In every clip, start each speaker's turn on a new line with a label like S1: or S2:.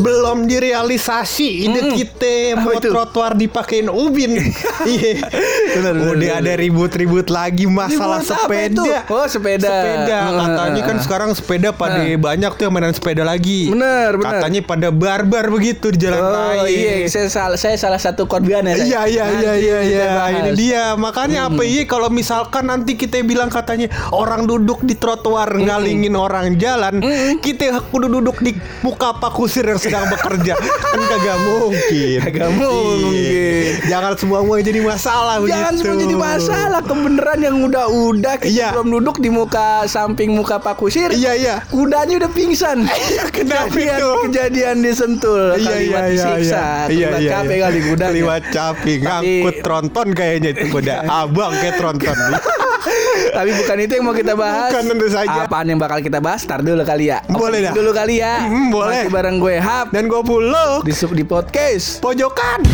S1: belum direalisasi ide kita mau
S2: itu?
S1: trotoar dipakein ubin. Iya.
S2: Benar, benar,
S1: Udah
S2: benar.
S1: ada ribut-ribut lagi masalah
S2: Ribut apa itu?
S1: sepeda.
S2: Oh, sepeda.
S1: Sepeda
S2: Heeh.
S1: katanya kan sekarang sepeda pada banyak tuh yang mainan sepeda lagi.
S2: Benar, benar.
S1: Katanya pada barbar begitu di jalan
S2: Oh
S1: raya.
S2: iya, saya, sal- saya salah satu korbannya. saya.
S1: Iya iya iya
S2: Nanti
S1: iya
S2: kita
S1: iya
S2: bahas.
S1: ini dia makanya
S2: Hmm.
S1: apa iya kalau misalkan nanti kita bilang katanya orang duduk di trotoar
S2: Hmm.
S1: ngalingin orang jalan kita kudu duduk di muka Pak Kusir yang sedang bekerja kan kagak mungkin Iya.
S2: Kagak mungkin.
S1: jangan semua mau jadi masalah
S2: Jangan
S1: begitu.
S2: semua jadi masalah kebenaran yang udah-udah kita
S1: Iya.
S2: belum duduk di muka samping muka Pak Kusir.
S1: iya iya
S2: Kudanya udah pingsan.
S1: kenapa
S2: kejadian,
S1: itu?
S2: kejadian
S1: Iya
S2: disentul,
S1: iya
S2: kalimat
S1: iya
S2: disiksa,
S1: iya.
S2: keliwat capek kali ya. kudanya.
S1: Keliwat capek ngangkut tronton kayaknya itu kuda abang kayak tronton.
S2: Tapi bukan itu yang mau kita bahas.
S1: Bukan, tentu saja.
S2: Apaan yang bakal kita bahas? Tar dulu kali ya.
S1: Boleh dah.
S2: Dulu kali ya.
S1: Mm, boleh.
S2: Masih bareng gue Hap
S1: Dan gue pulo
S2: di sub di podcast.
S1: pojokan.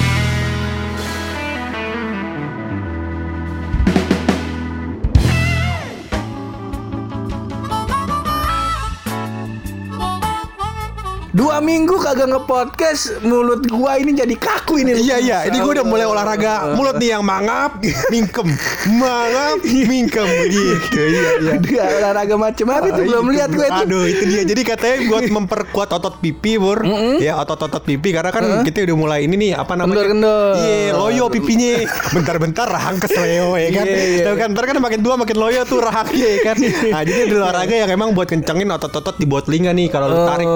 S2: Dua minggu kagak nge-podcast, mulut gua ini jadi kaku ini.
S1: Iya iya, ini gue udah mulai olahraga mulut nih yang mangap, mingkem, mangap, mingkem gitu. Iya iya.
S2: Udah olahraga macam apa itu
S1: Ah,
S2: belum
S1: itu.
S2: lihat gue itu.
S1: Aduh, itu dia. Jadi katanya buat memperkuat otot pipi, Bur. Ya, otot-otot pipi karena kan kita udah mulai ini nih apa namanya?
S2: Kendor-kendor.
S1: Iya, loyo pipinya. Bentar-bentar rahang kesleo ya kan.
S2: Iya, iya.
S1: Tapi kan ntar kan makin tua makin loyo tuh rahangnya ya kan. Nah, jadi ada olahraga yang emang buat kencengin otot-otot di bawah telinga nih kalau lu tarik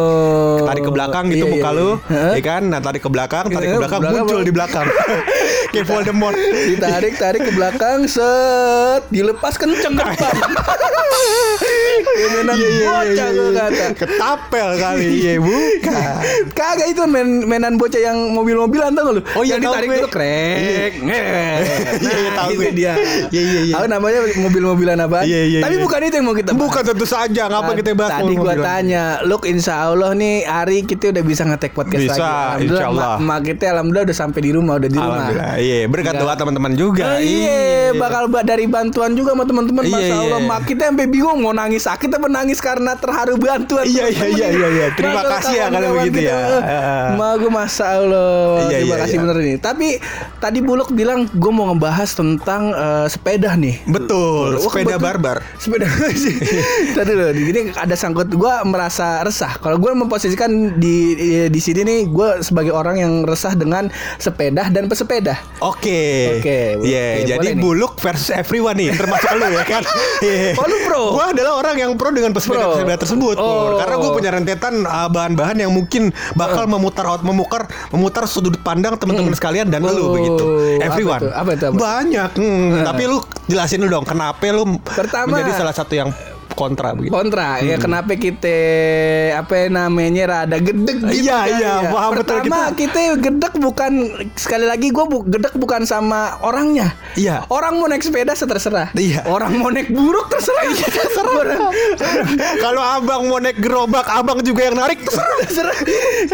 S2: Oh.
S1: tarik ke belakang gitu
S2: Iya,
S1: muka
S2: iya,
S1: lu,
S2: iya.
S1: ya kan? Nah, tarik ke belakang, tarik
S2: Iya,
S1: ke belakang, Iya,
S2: belakang
S1: muncul
S2: apa?
S1: di belakang. Kayak Voldemort.
S2: Ditarik, tarik ke belakang, set, dilepas kenceng ke depan. Mainan
S1: Iya, iya, iya,
S2: bocah
S1: iya,
S2: gue
S1: iya.
S2: kata.
S1: Ketapel kali, iya bukan.
S2: Kagak itu main, mainan bocah yang mobil-mobilan tau gak lu?
S1: Oh, iya,
S2: yang
S1: tahu
S2: ditarik
S1: gue.
S2: dulu krek. Nah, gitu
S1: Iya, iya, tahu gue.
S2: dia.
S1: Iya, iya, iya.
S2: Tahu namanya mobil-mobilan apa?
S1: Iya, iya, iya.
S2: Tapi bukan itu yang mau kita bahas.
S1: Bukan tentu saja, ngapa
S2: Tad-
S1: kita bahas
S2: Tadi gua
S1: mobil-mobilan?
S2: tanya, Luk insya Allah nih hari kita udah bisa ngetek podcast
S1: Bisa,
S2: lagi. Alhamdulillah,
S1: insya Allah.
S2: Mak, mak kita alhamdulillah udah sampai di rumah, udah di rumah.
S1: Alhamdulillah, iya berkat
S2: Enggak.
S1: doa teman-teman juga.
S2: Nah, iya, bakal ba- dari bantuan juga sama teman-teman.
S1: Iya,
S2: Masya
S1: iya.
S2: Allah, mak kita sampai bingung mau nangis sakit apa nangis karena terharu bantuan.
S1: Iya, iya,
S2: teman-teman.
S1: iya, iya, iya. Terima
S2: Masya Allah,
S1: kasih ya kalau
S2: kawan-kawan
S1: begitu
S2: kita.
S1: ya.
S2: Eh, Mak gue masya Allah,
S1: Iya,
S2: terima
S1: iya,
S2: kasih
S1: iya.
S2: bener nih. Tapi tadi Buluk bilang gue mau ngebahas tentang eh, sepeda nih.
S1: Betul,
S2: Wah,
S1: sepeda
S2: kebetul-
S1: barbar.
S2: sepeda tadi loh di sini ada sangkut gua merasa resah kalau gua memposisikan di di sini nih gua sebagai orang yang resah dengan sepeda dan pesepeda
S1: Oke.
S2: Oke,
S1: Iya,
S2: oke,
S1: jadi
S2: boleh nih.
S1: buluk versus everyone nih, termasuk lu ya kan. Iya.
S2: Oh, lu pro?
S1: Gua adalah orang yang pro dengan
S2: Pro.
S1: pesepeda-pesepeda tersebut. Pur.
S2: Oh. Eh.
S1: Karena gua punya rentetan uh, bahan-bahan yang mungkin bakal memutar memukar memutar sudut pandang teman-teman sekalian dan
S2: Oh,
S1: lu begitu.
S2: apa
S1: Everyone.
S2: tuh? Apa tuh, apa tuh?
S1: Banyak. hmm. Tapi lu jelasin lu dong kenapa lu
S2: Pertama-
S1: menjadi salah satu yang kontra begitu.
S2: kontra
S1: Hmm.
S2: ya kenapa kita apa ya namanya rada gedek gitu
S1: Iya,
S2: kali
S1: iya,
S2: ya.
S1: paham betul
S2: pertama kita. gedek bukan sekali lagi gua bu, gedek bukan sama orangnya
S1: Iya.
S2: orang mau naik sepeda terserah
S1: Iya.
S2: orang mau naik buruk terserah terserah Orang-
S1: Kalau abang mau naik gerobak, abang juga yang narik. terserah.
S2: Terserah.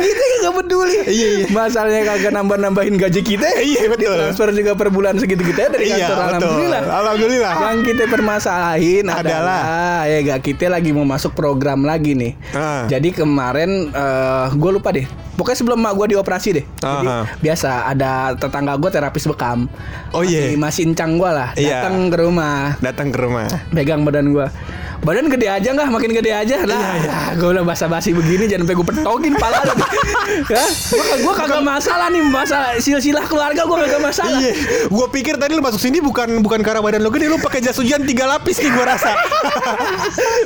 S2: kita gak peduli
S1: Iya, iya.
S2: masalahnya kagak nambah nambahin gaji kita ya
S1: Iya, betul.
S2: transfer juga per bulan segitu kita dari
S1: Iya,
S2: kantor
S1: betul.
S2: alhamdulillah
S1: Alhamdulillah.
S2: yang kita permasalahin
S1: Adalah.
S2: adalah, ya gak kita lagi mau masuk program lagi nih
S1: Ah.
S2: jadi kemarin gue lupa deh pokoknya sebelum mak gue dioperasi deh jadi
S1: Aha.
S2: biasa ada tetangga gue terapis bekam
S1: Oh, iya.
S2: Masih- masih incang gue lah
S1: Iya.
S2: datang ke rumah
S1: Datang ke rumah.
S2: pegang badan gua badan gede aja nggak makin gede
S1: Iya,
S2: aja lah gue udah basa-basi begini jangan sampai gue petokin pala lu ya gua, gua kagak masalah nih masalah silsilah keluarga gua kagak masalah
S1: Iya, gua pikir tadi lu masuk sini bukan bukan karena badan lu gede, lu pakai jas hujan tiga lapis nih gua rasa.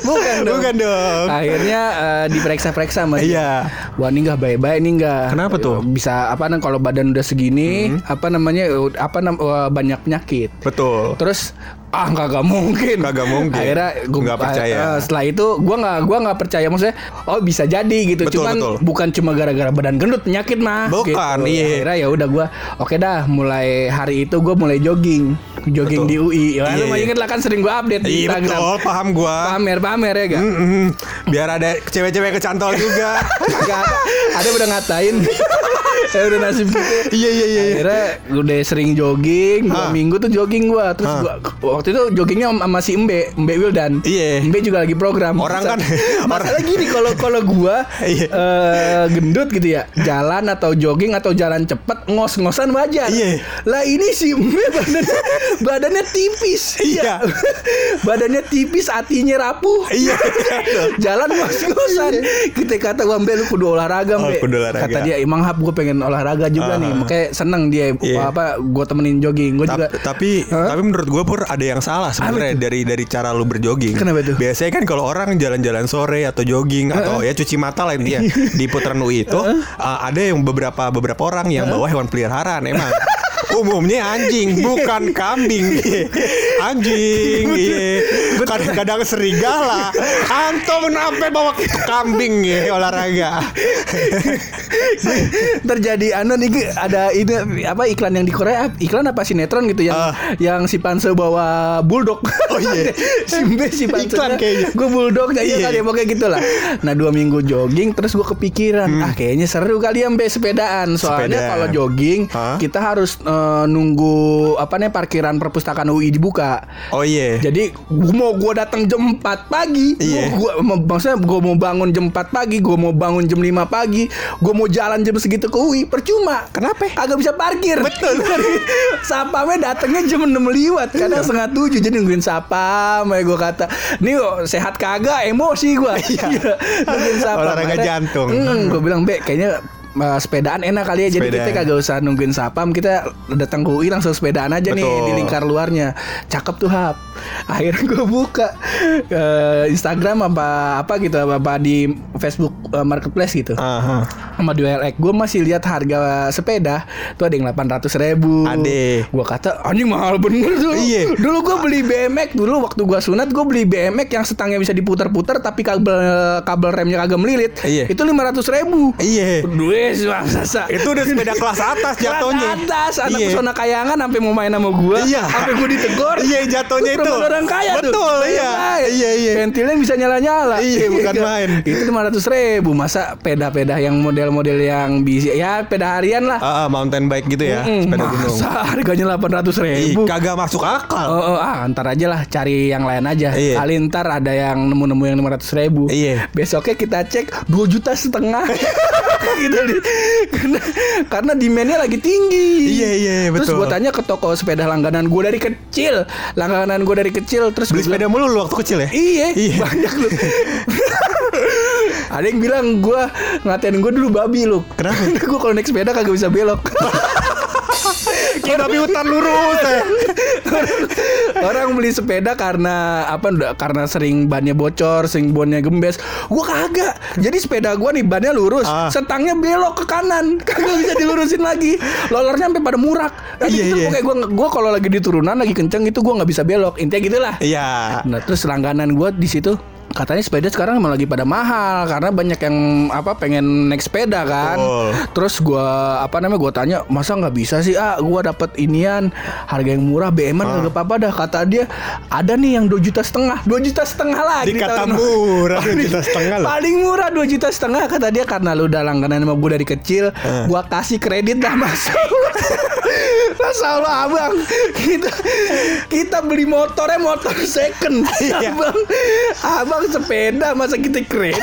S2: bukan dong
S1: bukan dong.
S2: akhirnya eh, diperiksa-periksa sama dia.
S1: Iya.
S2: wah ini nggak baik-baik nih nggak
S1: Kenapa tuh? Hmm.
S2: bisa apa namanya kalau badan udah segini apa namanya eh, apa nam- eh, banyak penyakit
S1: Betul.
S2: Terus ah kagak mungkin.
S1: Kagak mungkin.
S2: Akhirnya gua
S1: Nggak percaya.
S2: eh, setelah itu gua nggak gua nggak percaya maksudnya oh bisa jadi gitu.
S1: Betul,
S2: Cuman
S1: betul.
S2: bukan cuma gara-gara badan gendut penyakit mah.
S1: Bukan, iya.
S2: Akhirnya ya udah gua oke dah mulai hari itu gua mulai jogging. Jogging
S1: Betul.
S2: di UI. Ya lu
S1: Iya,
S2: mah
S1: iya.
S2: inget lah kan sering gua update di
S1: Iya
S2: Instagram.
S1: betul, paham gua.
S2: Pamer pamer ya gak?
S1: Mm-mm. biar ada cewek-cewek kecantol juga
S2: Kagak ada. Ada udah ngatain. Saya udah nasib gitu.
S1: iya iya iya iya.
S2: Akhirnya udah sering jogging,
S1: Ah.
S2: dua minggu tuh jogging gua. Terus
S1: Ah.
S2: gua waktu itu joggingnya sama- sama si Embe, Embe Wildan.
S1: Iya.
S2: Embe juga lagi program.
S1: Orang kan-
S2: masalah gini kalau kalau gua
S1: Iya.
S2: eh, gendut gitu ya, jalan atau jogging atau jalan cepet ngos-ngosan wajar.
S1: Iya.
S2: Lah ini si Embe badannya badannya tipis.
S1: Iya.
S2: badannya tipis, hatinya rapuh.
S1: iya
S2: jalan ngos-ngosan kita kata gua Mbe lu kudu olahraga Mbe
S1: Oh, kudu olahraga.
S2: kata dia emang hap gue pengen olahraga juga
S1: Ah.
S2: nih makanya seneng dia
S1: Iya.
S2: apa gue temenin jogging gue juga
S1: Ta- tapi
S2: Hah?
S1: tapi menurut gue pur ada yang salah sebenarnya
S2: tuh?
S1: dari dari cara lu berjoging.
S2: Kenapa tuh?
S1: Biasanya kan kalau orang jalan-jalan sore atau jogging atau ya cuci mata lah intinya di putaran UI itu uh, ada yang beberapa beberapa orang yang bawa hewan peliharaan emang. Umumnya anjing bukan kambing. anjing. iya. Kadang-kadang serigala. Anto sampai bawa kambing ya olahraga.
S2: terjadi anon ini anu ada ini apa iklan yang di Korea ah, iklan apa sinetron gitu yang
S1: Ah.
S2: yang si Panse bawa bulldog
S1: Oh, iya.
S2: si Mbe si Panse
S1: Iklan kayaknya.
S2: gue bulldog ya
S1: Iya.
S2: kan ya pokoknya gitu lah nah dua minggu jogging terus gue kepikiran ah kayaknya seru kali ya Mbe sepedaan soalnya
S1: Hmm. Sepedaan.
S2: kalau jogging
S1: Hah?
S2: kita harus eh, nunggu apa nih parkiran perpustakaan UI dibuka
S1: Oh iya.
S2: Jadi gua mau gue datang jam 4 pagi,
S1: Iya.
S2: gua, gua- maksudnya gue mau bangun jam 4 pagi, gue mau bangun jam 5 pagi, gue mau jalan jam segitu ke UI, percuma.
S1: Kenapa?
S2: Agak bisa parkir. Betul. Sapamnya datangnya jam 6 liwat,
S1: Iya.
S2: kadang setengah 7 jadi nungguin sapam, gue kata, nih kok sehat kagak, emosi gue. Iya. nungguin sapam.
S1: Olahraga
S2: Akhirnya,
S1: jantung.
S2: Mm, gue bilang, Be, kayaknya uh, sepedaan enak kali ya jadi
S1: Sepedaan.
S2: kita kagak usah nungguin sapam kita datang ke UI langsung sepedaan aja nih
S1: Betul.
S2: di lingkar luarnya cakep tuh hap akhirnya gue buka eh, Instagram apa apa gitu apa, apa di Facebook eh, marketplace gitu
S1: Aha.
S2: sama duel X gue masih lihat harga sepeda tuh ada yang 800 ribu
S1: Ade.
S2: gue kata anjing mahal bener tuh
S1: Iya.
S2: dulu gue beli BMX dulu waktu gue sunat gue beli BMX yang setangnya bisa diputar-putar tapi kabel kabel remnya kagak melilit
S1: Iya.
S2: itu 500 ribu
S1: Iya.
S2: duit bang Sasa
S1: Itu udah sepeda kelas atas jatuhnya.
S2: Kelas atas anak
S1: Iya.
S2: pesona kayangan sampai mau main sama gua
S1: Iya.
S2: sampai gua ditegor
S1: Iya, jatuhnya
S2: Lu
S1: itu.
S2: perempuan orang kaya tuh
S1: Betul, iya.
S2: Bayangin.
S1: Iya, iya.
S2: ventilnya bisa nyala nyala
S1: Iya, bukan main.
S2: itu lima ratus ribu masa peda-peda yang model-model yang bisa ya peda harian lah
S1: Ah, ah, mountain bike gitu ya,
S2: Mm,
S1: sepeda gunung. Iya.
S2: masa harganya delapan ratus
S1: Ih,
S2: ribu
S1: kagak masuk akal.
S2: Oh, oh, ah, ntar aja lah cari yang lain aja.
S1: Iya.
S2: Kali ntar ada yang nemu-nemu yang 500 ribu.
S1: Iya.
S2: Besoknya kita cek 2 juta setengah. gitu di, karena, karena demandnya lagi tinggi.
S1: Iya, iya,
S2: Terus
S1: betul.
S2: gue tanya ke toko sepeda langganan gue dari kecil, langganan gue dari kecil. Terus
S1: Beli
S2: gua bilang,
S1: sepeda mulu lu waktu kecil ya?
S2: Iya,
S1: Iya.
S2: banyak lu. ada yang bilang gue ngatain gue dulu babi lu.
S1: Kenapa?
S2: gue kalau naik sepeda kagak bisa belok.
S1: Kira tapi hutan lurus ya.
S2: Orang beli sepeda karena apa udah karena sering bannya bocor, sering bonnya gembes. Gua kagak. Jadi sepeda gua nih bannya lurus,
S1: Ah.
S2: setangnya belok ke kanan. Kagak bisa dilurusin lagi. Lolernya sampai pada murak. Tapi
S1: Iya,
S2: gitu
S1: iya.
S2: pokoknya gua gua kalau lagi di turunan lagi kenceng itu gua nggak bisa belok. Intinya gitulah.
S1: Iya.
S2: Nah, terus langganan gua di situ katanya sepeda sekarang emang lagi pada mahal karena banyak yang apa pengen naik sepeda kan.
S1: Betul.
S2: Terus gua apa namanya gua tanya, "Masa nggak bisa sih? Ah, gua dapat inian harga yang murah BM-an
S1: Ah.
S2: kagak apa-apa dah." Kata dia, "Ada nih yang 2 juta setengah." 2 juta setengah lagi
S1: Dikata
S2: ditawarin.
S1: murah
S2: Paling-
S1: juta setengah loh.
S2: Paling murah 2 juta setengah kata dia karena lu udah langganan sama gue dari kecil,
S1: Eh.
S2: gua kasih kredit dah Mas. Mas Allah Abang, kita kita beli motornya motor second.
S1: Iya.
S2: Abang, Abang sepeda masa kita
S1: Eh.
S2: kredit.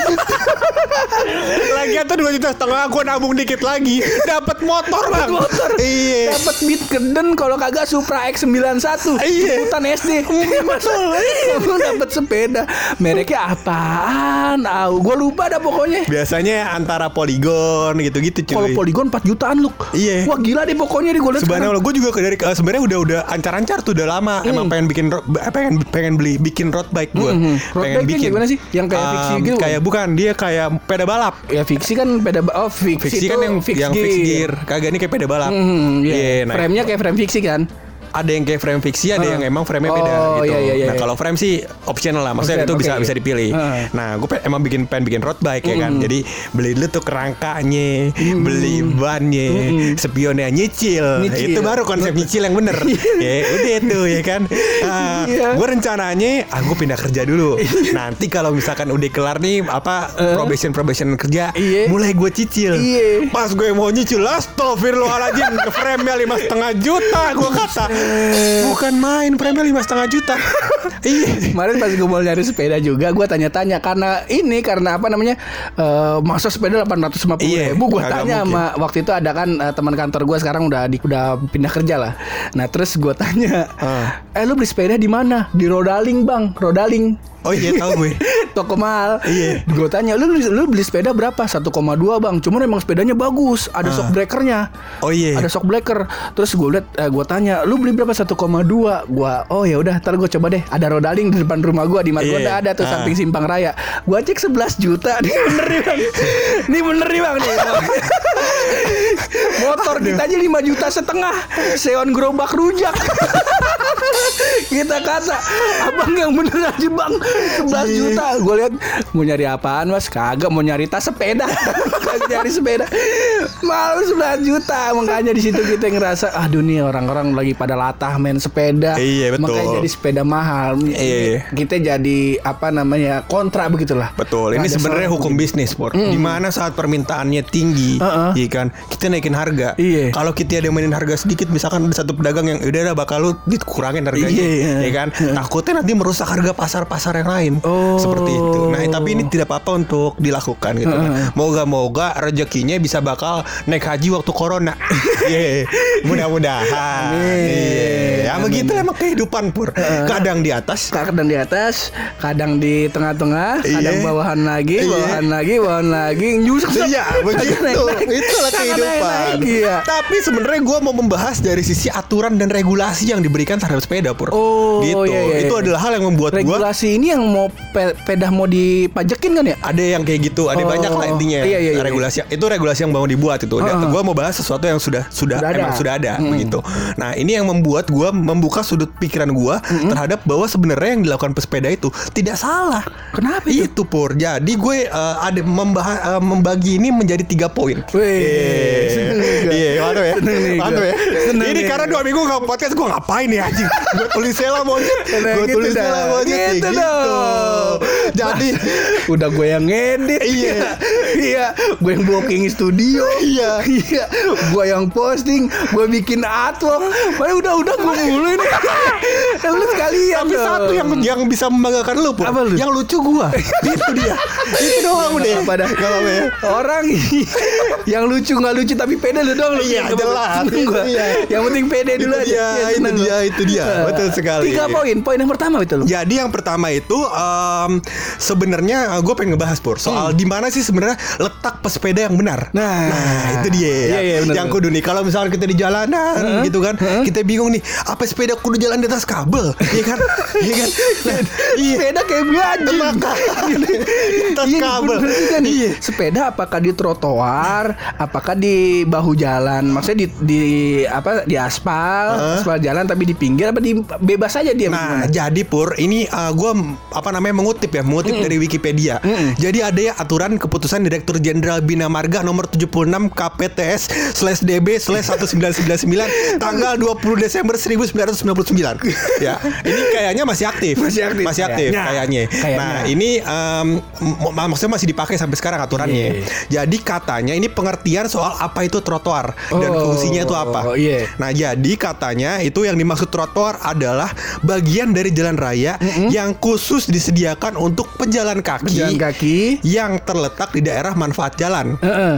S1: Lagian tuh 2 juta setengah gua nabung dikit lagi, dapat motor, Bang.
S2: motor.
S1: Iya.
S2: Dapat beat keden kalau kagak Supra X91.
S1: Iya.
S2: Jemputan SD. Betul. Abang dapat sepeda. Mereknya apaan? Ah, gua lupa dah pokoknya.
S1: Biasanya antara poligon kan gitu-gitu Iya, cuy.
S2: Kalau poligon 4 jutaan lu.
S1: Iya.
S2: Wah gila deh pokoknya di gue liat sekarang.
S1: Sebenarnya gue juga dari eh, sebenarnya udah udah ancar-ancar tuh udah lama emang pengen bikin ro- eh, pengen pengen beli bikin road bike gue.
S2: Mm, mm, mm. Road
S1: pengen
S2: bike-nya
S1: bikin.
S2: gimana sih? Yang kayak fiksi
S1: Um,
S2: gitu?
S1: Kayak bukan dia kayak peda balap.
S2: Ya fiksi kan peda oh fiksi,
S1: Fiksi kan
S2: tuh
S1: yang yang fix gear. Kagak ini kayak peda balap.
S2: Hmm, iya.
S1: Iya, nah.
S2: Frame-nya kayak frame fiksi kan.
S1: ada yang kayak frame fiksi, ada
S2: Heeh.
S1: yang emang frame-nya beda
S2: Oh,
S1: gitu.
S2: iya, iya, iya,
S1: nah,
S2: iya.
S1: kalau frame sih optional lah, maksudnya
S2: Option,
S1: itu bisa
S2: oke. iya. Ah.
S1: bisa dipilih.
S2: Heeh.
S1: Nah, gue pengen- emang bikin pengen bikin road bike ya kan. Jadi beli dulu tuh kerangkanya, beli bannya, spionnya nyicil.
S2: Nyicil.
S1: Itu baru konsep nyicil yang bener. ya, udah itu ya kan. Nah,
S2: Iya.
S1: gue rencananya aku pindah kerja dulu. Nanti kalau misalkan udah kelar nih apa probation probation kerja,
S2: Eh. Iya.
S1: mulai gue cicil.
S2: Iya.
S1: Pas gue mau nyicil, astagfirullahaladzim, frame-nya lima setengah juta, gue kata. Bukan main, frame-nya lima setengah juta. Iya.
S2: Kemarin pas gue mau nyari sepeda juga gue tanya-tanya karena ini karena apa namanya eh masa sepeda 850
S1: Iya,
S2: ribu gue
S1: kagak
S2: tanya
S1: mungkin.
S2: sama waktu itu ada kan eh, teman kantor gue sekarang udah di, udah pindah kerja lah. Nah terus gue tanya,
S1: Ah.
S2: eh lu beli sepeda di mana? Di Rodaling bang, Rodaling.
S1: Oh iya tahu gue.
S2: Toko mahal.
S1: Iya.
S2: Gue tanya, lu, lu beli sepeda berapa? 1,2 bang. Cuman emang sepedanya bagus,
S1: Ah.
S2: ada shock breakernya.
S1: Oh iya.
S2: Ada shock breaker. Terus gue liat, eh, gue tanya, lu beli berapa? 1,2. Gua, oh ya udah, ntar gue coba deh. Ada rodaling di depan rumah gue di Margonda
S1: Iya.
S2: ada tuh
S1: Ah.
S2: samping Simpang Raya. Gue cek 11 juta. Ini bener nih bang. Ini bener nih bang nih. Motor kita aja 5 juta setengah. Seon gerobak rujak. kita kata abang yang bener aja bang 11
S1: Iya.
S2: juta gue lihat mau nyari apaan mas kagak mau nyari tas sepeda Kagak nyari sepeda malu 11 juta makanya di situ kita ngerasa ah dunia orang-orang lagi pada latah main sepeda
S1: Iya, betul.
S2: makanya jadi sepeda mahal
S1: Iya.
S2: kita jadi apa namanya kontra begitulah
S1: Betul. Ini
S2: Ada
S1: sebenarnya
S2: salah-
S1: hukum bisnis, Pur. Dimana saat permintaannya tinggi,
S2: Heeh.
S1: iya kan, kita naikin harga.
S2: Iya.
S1: Kalau kita ada yang mainin harga sedikit, misalkan ada satu pedagang yang udah lah bakal lu dikurangin harganya,
S2: Iya, iya.
S1: ya kan. Takutnya nanti merusak harga pasar-pasar yang lain.
S2: Oh.
S1: Seperti itu. Nah, tapi ini tidak apa-apa untuk dilakukan gitu. kan. Moga-moga rezekinya bisa bakal naik haji waktu corona. Iya. Mudah-mudahan.
S2: Amin.
S1: Iya. Ya begitu emang kehidupan, Pur. Kadang di atas,
S2: kadang di atas, kadang di tengah-tengah,
S1: Iya.
S2: kadang bawahan lagi,
S1: Iya.
S2: bawahan lagi, bawahan lagi, nyusuk.
S1: Iya begitu Itulah kehidupan
S2: Iya.
S1: Tapi sebenarnya gue mau membahas Dari sisi aturan dan regulasi Yang diberikan terhadap sepeda Pur
S2: Oh,
S1: Gitu
S2: iya, iya,
S1: Itu
S2: iya.
S1: adalah hal yang membuat gue
S2: Regulasi ini yang mau pe pedah mau dipajekin kan ya?
S1: ada yang kayak gitu, ada
S2: Oh,
S1: banyak lah intinya
S2: iya, iya, iya.
S1: regulasi. Itu regulasi yang mau dibuat itu. Dan
S2: Heeh.
S1: gue mau bahas sesuatu yang sudah sudah,
S2: Sudah ada. Hmm.
S1: emang sudah ada begitu. Nah ini yang membuat gue membuka sudut pikiran gue
S2: Hmm.
S1: terhadap bahwa sebenarnya yang dilakukan pesepeda itu tidak salah.
S2: Kenapa itu?
S1: Itu pur. Jadi gue eh, ada membahas membagi ini menjadi tiga poin.
S2: Wih,
S1: Yeay.
S2: seneng nih gue.
S1: Iya, mantap ya.
S2: Seneng nih gue.
S1: Mantap ya.
S2: Seneng
S1: Ini
S2: nih
S1: karena
S2: gue.
S1: dua minggu nggak podcast gue ngapain ya anjing. Gue tulis lah monyet.
S2: Nah,
S1: Gue
S2: gitu
S1: tulis
S2: dah.
S1: lah monyet nih,
S2: Gitu dong.
S1: Jadi
S2: Udah gue yang ngedit.
S1: Iya.
S2: iya, gue yang booking studio.
S1: Iya.
S2: iya, gue yang posting, gue bikin artwork. Padahal udah-udah gue mulu ini. Lu sekalian
S1: Tapi
S2: Iya dong.
S1: satu yang yang bisa membanggakan lu pun
S2: Apa lu?
S1: Yang lucu gua Itu dia Itu doang
S2: Nggak
S1: udah
S2: apa-apa dah.
S1: Nggak apa-apa ya
S2: Orang yang lucu nggak lucu tapi pede lu dong lu.
S1: Iya, jelas.
S2: Seneng
S1: Itu
S2: gua.
S1: dia.
S2: Yang penting pede
S1: Itu
S2: dulu aja.
S1: dia,
S2: Iya,
S1: itu
S2: seneng
S1: dia,
S2: gua.
S1: itu dia.
S2: Eh,
S1: Betul sekali.
S2: Tiga poin. Poin yang pertama itu lu.
S1: Jadi yang pertama itu em, sebenarnya gue pengen ngebahas pur soal di mana sih sebenarnya letak pesepeda yang benar.
S2: Hmm. Nah.
S1: itu dia.
S2: Iya, iya, benar,
S1: yang kudu nih kalau misalkan kita di jalanan gitu kan, kita bingung nih apa sepeda kudu jalan di atas kabel, iya kan? Iya kan? Nah, iya.
S2: Sepeda kayak gue anjing.
S1: Makanya, di atas
S2: Iya,
S1: kabel.
S2: bener juga nih.
S1: Iya.
S2: Sepeda apakah di trotoar, apakah di bahu jalan, maksudnya di, di apa di aspal, aspal jalan tapi di pinggir apa di bebas aja dia.
S1: Nah,
S2: gimana?
S1: jadi Pur, ini uh, gue apa namanya mengutip ya, mengutip dari Wikipedia. Jadi ada ya aturan keputusan Direktur Jenderal Bina Marga nomor 76 KPTS slash DB slash 1999 tanggal 20 Desember 1999. ya, ini kayaknya masih aktif.
S2: Masih aktif.
S1: Masih aktif kayaknya.
S2: Kayaknya. Kayaknya.
S1: Nah, ini um, m- m- maksudnya masih dipakai sampai sekarang aturannya.
S2: Iya.
S1: Jadi katanya ini pengertian soal apa itu trotoar dan
S2: Oh,
S1: fungsinya itu apa.
S2: iya.
S1: Nah, jadi katanya itu yang dimaksud trotoar adalah bagian dari jalan raya yang khusus disediakan untuk pejalan kaki,
S2: Jalan kaki.
S1: yang terletak di daerah manfaat jalan.
S2: Heeh.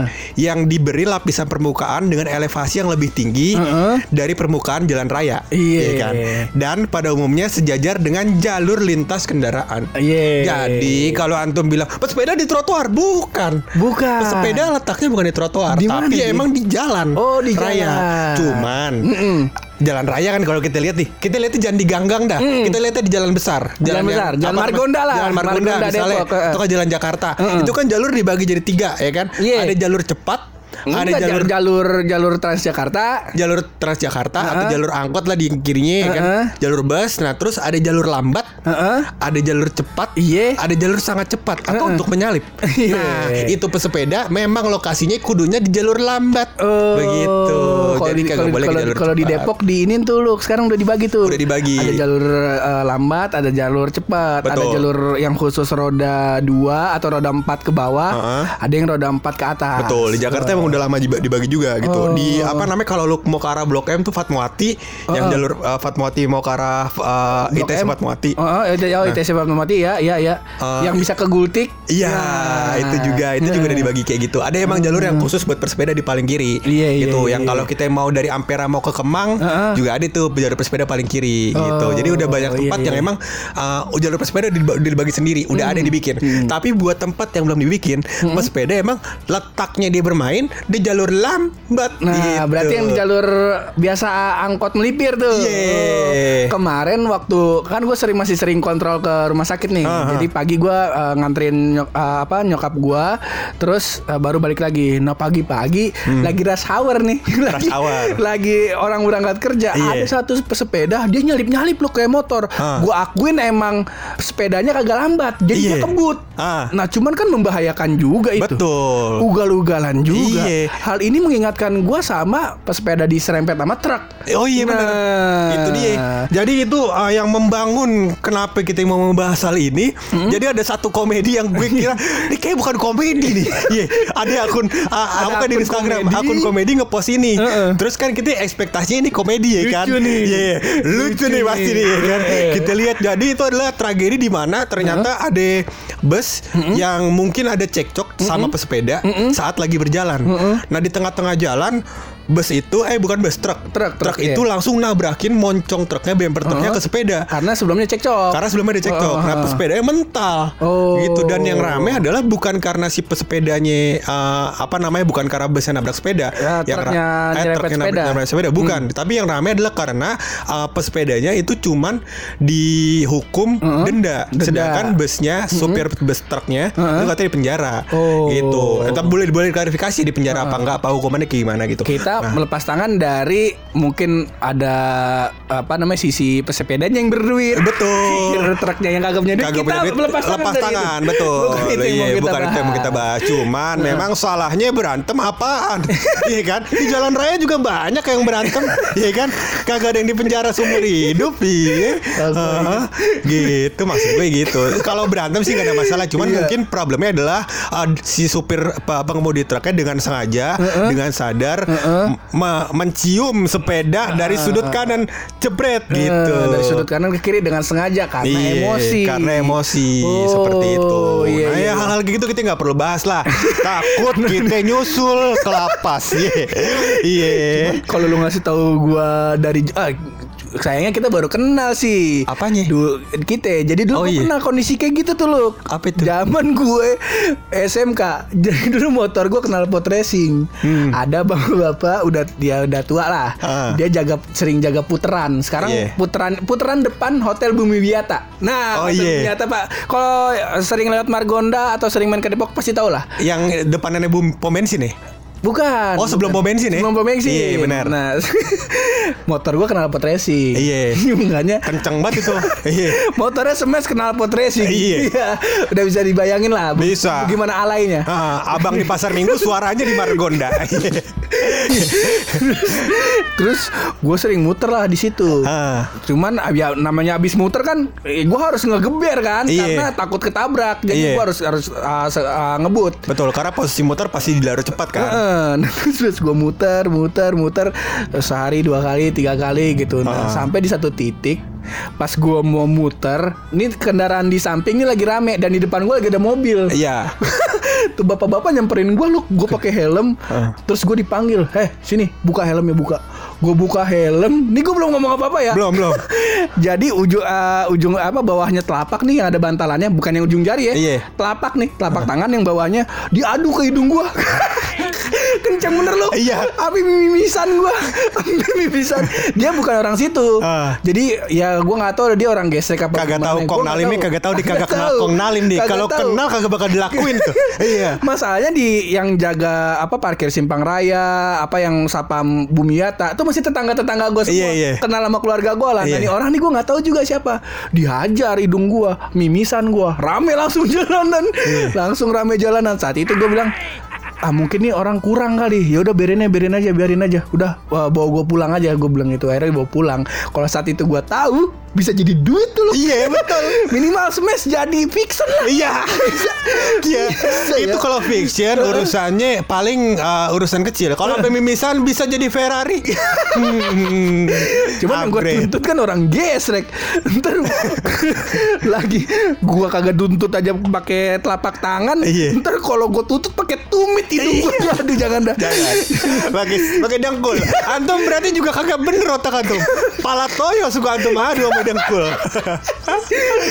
S1: Yang diberi lapisan permukaan dengan elevasi yang lebih tinggi
S2: Heeh.
S1: dari permukaan jalan raya,
S2: Iya.
S1: ya kan? Dan pada umumnya sejajar dengan jalur lintas kendaraan.
S2: Iya.
S1: Jadi kalau antum bilang pesepeda di trotoar bukan.
S2: Bukan.
S1: Sepeda letaknya bukan di trotoar,
S2: Di mana,
S1: tapi
S2: Ji?
S1: emang di jalan.
S2: Oh, di
S1: raya.
S2: jalan.
S1: Cuman jalan raya kan kalau kita lihat nih, kita lihatnya jangan di ganggang dah. Kita lihatnya di jalan besar.
S2: Jalan
S1: yang-
S2: besar, jalan
S1: apa namanya?
S2: Margonda lah.
S1: Jalan Margonda,
S2: Margonda,
S1: misalnya.
S2: Depok, eh.
S1: Atau kan jalan Jakarta. Itu kan jalur dibagi jadi tiga ya kan.
S2: Iya.
S1: Ada jalur cepat ada
S2: Enggak,
S1: jalur
S2: jalur jalur Transjakarta.
S1: jalur Transjakarta atau
S2: Heeh.
S1: jalur angkot lah di kirinya ya kan.
S2: Heeh.
S1: Jalur bus, nah terus ada jalur lambat,
S2: Heeh.
S1: ada jalur cepat,
S2: Iya.
S1: ada jalur sangat cepat atau
S2: Heeh.
S1: untuk menyalip.
S2: Iya.
S1: Nah, itu pesepeda memang lokasinya kudunya di jalur lambat.
S2: Oh,
S1: Begitu.
S2: kalau
S1: Jadi
S2: di-
S1: kagak
S2: kalau-
S1: boleh ke
S2: kalau-
S1: jalur
S2: kalau di
S1: cepat.
S2: Depok di ini tuh lu sekarang udah dibagi tuh.
S1: Udah dibagi.
S2: Ada jalur eh, lambat, ada jalur cepat, ada
S1: Betul.
S2: jalur yang khusus roda 2 atau roda 4 ke bawah,
S1: Heeh.
S2: ada yang roda 4 ke atas.
S1: Betul, di Jakarta emang udah lama diba- dibagi juga
S2: Oh.
S1: gitu. Di apa namanya kalau lu mau ke arah Blok M tuh Fatmawati, yang jalur uh, Fatmawati mau ke arah uh,
S2: Blok
S1: ITS
S2: M.
S1: Fatmawati.
S2: Oh, oh, itu- oh, ITC Fatmawati ya, ya, ya.
S1: Nah. Eh,
S2: yang bisa ke Gultik.
S1: Iya,
S2: Nah.
S1: itu juga, itu juga udah dibagi kayak gitu. Ada emang jalur yang khusus buat bersepeda di paling kiri,
S2: Hmm. Iya, iya,
S1: gitu.
S2: iya,
S1: yang
S2: iya.
S1: kalau kita mau dari Ampera mau ke Kemang,
S2: Heeh.
S1: juga ada tuh jalur bersepeda paling kiri, gitu. Jadi udah banyak
S2: iya,
S1: tempat
S2: iya. Hmm.
S1: yang emang uh, jalur bersepeda dib- dibagi sendiri, udah ada yang dibikin. Tapi buat tempat yang belum dibikin, bersepeda emang letaknya dia bermain di jalur lambat.
S2: Nah,
S1: gitu.
S2: berarti yang di jalur biasa angkot melipir tuh. Oh.
S1: Iya.
S2: Kemarin waktu kan gue sering masih sering kontrol ke rumah sakit nih.
S1: Aha.
S2: Jadi pagi gue nganterin nyok- eh, apa nyokap gue, terus eh, baru balik lagi. Nah pagi-pagi lagi rush hour nih. lagi,
S1: Hmm. hour.
S2: Lagi orang berangkat kerja.
S1: Iya.
S2: Ada satu pesepeda dia nyalip-nyalip loh kayak motor.
S1: Ah.
S2: Gue akuin emang sepedanya kagak lambat, jadi dia
S1: Iya.
S2: kebut.
S1: Ah.
S2: Nah cuman kan membahayakan juga itu.
S1: Betul.
S2: Ugal-ugalan juga.
S1: Iya.
S2: Hal ini mengingatkan gua sama pesepeda diserempet sama truk.
S1: Oh iya benar.
S2: Nah.
S1: Itu dia. Jadi itu uh, yang membangun kenapa kita mau membahas hal ini. Jadi ada satu komedi yang gue kira ini kayak bukan komedi nih. Iya, ada akun uh, apa kan di
S2: akun
S1: Instagram
S2: komedi.
S1: akun komedi ngepost ini.
S2: Heeh.
S1: Terus kan kita ekspektasinya ini komedi ya
S2: Lucu
S1: kan.
S2: nih.
S1: Iya, iya. lucu,
S2: Lucu
S1: nih
S2: nih.
S1: pasti nih ya kan.
S2: Heeh.
S1: Kita lihat jadi itu adalah tragedi di mana ternyata ada bus yang mungkin ada cekcok sama pesepeda saat lagi berjalan. Nah, di tengah-tengah jalan bus itu eh bukan bus truk
S2: Truk, truk,
S1: truk itu langsung nabrakin moncong truknya bemper truknya
S2: Heeh.
S1: ke sepeda
S2: Karena sebelumnya cekcok.
S1: karena sebelumnya ada cekcok
S2: Heeh.
S1: nah pesepedanya mental
S2: Oh.
S1: gitu dan yang rame adalah bukan karena si pesepedanya eh, apa namanya bukan karena busnya nabrak sepeda
S2: Ya,
S1: yang
S2: truknya
S1: ra- eh,
S2: nyerempet
S1: truknya nabrak-
S2: sepeda. Hmm.
S1: nabrak sepeda bukan tapi yang rame adalah karena eh, pesepedanya itu cuman dihukum denda.
S2: Denda. Hmm.
S1: sedangkan busnya supir bus truknya itu katanya di penjara
S2: Oh.
S1: gitu tapi boleh boleh klarifikasi di penjara apa enggak apa hukumannya kayak gimana gitu
S2: Kita melepas tangan dari mungkin ada apa namanya sisi pesepedanya yang berduit.
S1: betul
S2: Truknya yang kagak punya duit.
S1: Kagak
S2: kita
S1: punya duit,
S2: melepas tangan. dari itu.
S1: tangan, betul.
S2: Bukan itu yang
S1: Iya,
S2: mau
S1: bukan itu yang
S2: kita
S1: mau
S2: bahas. Nah.
S1: kita bahas. Cuman memang salahnya berantem apaan? Iya kan? Di jalan raya juga banyak yang berantem, iya kan? Kagak ada yang di penjara seumur hidup, iya. Heeh.
S2: iya.
S1: gitu maksud gue gitu. Kalau berantem sih gak ada masalah, cuman
S2: Iya.
S1: mungkin problemnya adalah uh, si supir apa pengemudi truknya dengan sengaja, dengan sadar me- mencium sepeda dari sudut kanan, jebret gitu.
S2: Eh, Ah. dari sudut kanan ke kiri dengan sengaja karena
S1: Iya,
S2: emosi.
S1: Karena emosi
S2: Oh,
S1: seperti itu.
S2: Iya,
S1: nah,
S2: iya.
S1: ya hal-hal kayak gitu kita nggak perlu bahas lah. Takut kita nyusul ke lapas. Iya. Iya.
S2: Kalau lu ngasih tahu gua dari ah, sayangnya kita baru kenal sih.
S1: Apanya?
S2: Dulu kita. Jadi dulu
S1: Iya. Oh,
S2: gua
S1: iya.
S2: kenal kondisi kayak gitu tuh lu.
S1: Apa itu?
S2: Zaman gue SMK. Jadi dulu motor gua kenal pot racing. Ada bapak-bapak udah dia udah tua lah.
S1: Hmm. Ah.
S2: Dia jaga sering jaga puteran. Sekarang
S1: Iya.
S2: puteran puteran depan Hotel Bumi Wiata.
S1: Oh,
S2: Nah, Hotel
S1: iya.
S2: Bumi Wiata, Pak. Kalau sering lewat Margonda atau sering main ke Depok pasti tau lah.
S1: Yang depannya bom pom bensin nih.
S2: Bukan.
S1: Oh, sebelum
S2: bukan.
S1: pom bensin ya?
S2: Sebelum pom bensin.
S1: Iya, benar.
S2: Nah, motor gua kenal pot racing.
S1: Iya.
S2: Makanya
S1: Kenceng banget itu. Iya.
S2: motornya semes kenal pot racing.
S1: Iya.
S2: Udah bisa dibayangin lah. be-
S1: Bisa.
S2: Gimana alainya.
S1: Ah, abang di pasar minggu suaranya di Margonda. Iya.
S2: Terus gue sering muter lah di situ.
S1: Ah.
S2: Cuman ab- ya, namanya abis muter kan, eh, gua harus ngegeber kan,
S1: Iya.
S2: karena takut ketabrak. Jadi
S1: Iya.
S2: gua harus harus ah, se- ah, ngebut.
S1: Betul, karena posisi motor pasti di lari cepat kan.
S2: Heeh, nah, terus gue muter, muter, muter sehari dua kali, tiga kali gitu. Nah,
S1: Heeh.
S2: sampai di satu titik pas gua mau muter, ini kendaraan di samping ini lagi rame dan di depan gua lagi ada mobil.
S1: Iya.
S2: Tuh bapak-bapak nyamperin gua lu, gue pakai helm,
S1: Heeh.
S2: terus gue dipanggil, "Heh, sini, buka helmnya buka." Gue buka helm, nih gue belum ngomong apa-apa ya.
S1: Belum, belum.
S2: Jadi ujung eh, ujung apa bawahnya telapak nih yang ada bantalannya bukan yang ujung jari ya.
S1: Iya.
S2: Telapak nih, telapak tangan yang bawahnya diadu ke hidung gua. kencang bener lu
S1: Iya.
S2: Abi mimisan gua Abi mimisan Dia bukan orang situ
S1: Ah.
S2: Jadi ya gua gak tahu dia orang gesek apa
S1: Kagak tahu
S2: gimana. Gua
S1: Kong
S2: nggak
S1: Nalim nih
S2: tahu.
S1: kagak tahu dia kagak kenal
S2: tahu.
S1: Kong Nalim nih.
S2: Kagak
S1: Kalau
S2: tahu.
S1: kenal kagak bakal dilakuin tuh. Iya.
S2: Masalahnya di yang jaga apa parkir simpang raya, apa yang sapam Bumiata, itu masih tetangga-tetangga gue semua.
S1: Iya, iya.
S2: Kenal sama keluarga gue lah. Nah,
S1: Iya.
S2: ini orang nih gue nggak tahu juga siapa. Dihajar hidung gue, mimisan gue, rame langsung jalanan,
S1: Iya.
S2: langsung rame jalanan. Saat itu gue bilang, ah mungkin nih orang kurang kali ya udah biarin aja biarin aja biarin aja udah wah, bawa gue pulang aja gue bilang itu akhirnya bawa pulang kalau saat itu gue tahu bisa jadi duit tuh loh
S1: Iya, betul.
S2: minimal smash jadi fiction lah
S1: Iya. Iya.
S2: Bisa ya.
S1: Itu kalau fiction urusannya paling uh, urusan kecil. Kalau pemimisan bisa jadi Ferrari. Hmm.
S2: Cuman yang gue
S1: Upgrade.
S2: tuntut kan orang gesrek. Ntar lagi gua kagak tuntut aja pakai telapak tangan.
S1: Iya.
S2: Ntar kalau gue tuntut pakai tumit hidung gue. Aduh jangan dah.
S1: Jangan. Pakai pakai dengkul. Antum berarti juga kagak bener otak antum. Pala toyo suka antum adu sama dengkul.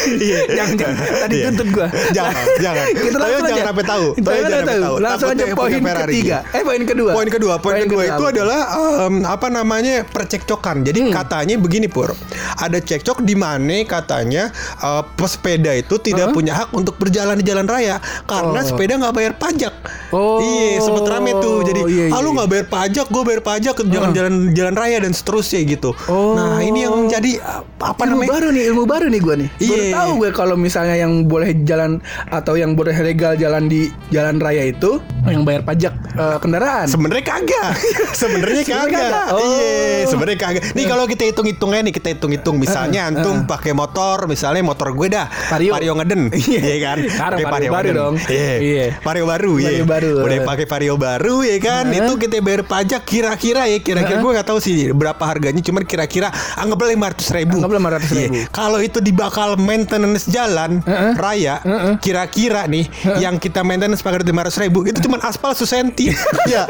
S1: Iya.
S2: Jangan, jangan. Tadi
S1: Iya.
S2: tuntut gua.
S1: Jangan, jangan. Toyo
S2: Kita langsung
S1: jangan
S2: aja.
S1: sampai tahu.
S2: Toyo jangan sampai tahu. Langsung aja
S1: Takutnya
S2: poin
S1: punya Ferrari.
S2: ketiga. Eh poin kedua.
S1: Poin kedua, poin, kedua, itu
S2: apa?
S1: adalah em, apa namanya percekcokan. Jadi
S2: Hmm.
S1: katanya begini pur, ada cekcok di mana katanya eh, pesepeda itu tidak punya hak untuk berjalan di jalan raya karena
S2: Oh.
S1: sepeda nggak bayar pajak.
S2: Oh.
S1: Iya, sempet rame tuh. Jadi,
S2: Iya,
S1: ah, lu
S2: iya.
S1: nggak bayar pajak, gue bayar pajak, jangan jalan jalan raya dan seterusnya gitu.
S2: Oh.
S1: Nah ini yang jadi eh, apa
S2: Ilmu
S1: namanya?
S2: baru nih, ilmu baru nih gue nih. Baru
S1: Iya.
S2: tahu gue kalau misalnya yang boleh jalan atau yang boleh legal jalan di jalan raya itu yang bayar pajak eh, kendaraan.
S1: Sebenarnya kagak. Sebenarnya
S2: Sebenarnya
S1: kagak.
S2: kagak.
S1: Iya,
S2: Oh. Eh,
S1: sebenarnya kagak. Nih kalau kita hitung-hitung aja nih, kita hitung-hitung misalnya antum pakai motor, misalnya motor gue dah,
S2: Vario.
S1: ngeden,
S2: Iya.
S1: iya kan?
S2: Sekarang
S1: Pakai
S2: Vario baru
S1: ngeden.
S2: dong.
S1: Iya.
S2: Iya.
S1: Vario baru, iya.
S2: Vario baru. Eh.
S1: Udah pakai Vario baru ya kan?
S2: Heeh.
S1: Itu kita bayar pajak kira-kira ya, kira-kira
S2: Eh,
S1: gue nggak tahu sih berapa harganya, cuman kira-kira anggaplah 500 ribu. Iya.
S2: Anggaplah 500.000.
S1: Kalau itu dibakal maintenance jalan
S2: Heeh.
S1: raya, kira-kira nih yang kita maintenance pakai 500 ribu itu cuma aspal sesenti. Iya.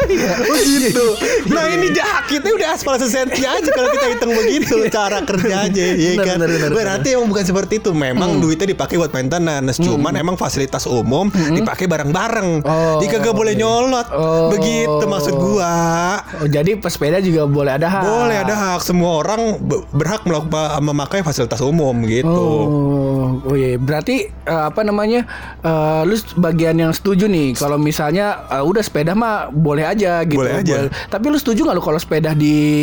S1: Oh gitu. Nah ini jakitnya udah aspal sesenti aja kalau kita hitung begitu cara kerjanya, ya
S2: Iya. Benar,
S1: kan.
S2: benar, benar,
S1: Berarti emang bukan seperti itu. Memang duitnya dipakai buat maintenance, cuman emang fasilitas umum dipakai bareng-bareng.
S2: Oh,
S1: Jika gak boleh
S2: iya.
S1: nyolot,
S2: Oh.
S1: begitu maksud gua.
S2: Oh, jadi pesepeda juga boleh ada hak.
S1: Boleh ada hak semua orang be- berhak melakukan memakai fasilitas umum gitu.
S2: Oh, oh iya. Berarti eh, apa namanya? eh, lu bagian yang setuju nih kalau misalnya eh, udah sepeda mah boleh aja gitu.
S1: Boleh aja.
S2: Tapi lu setuju nggak lu kalau sepeda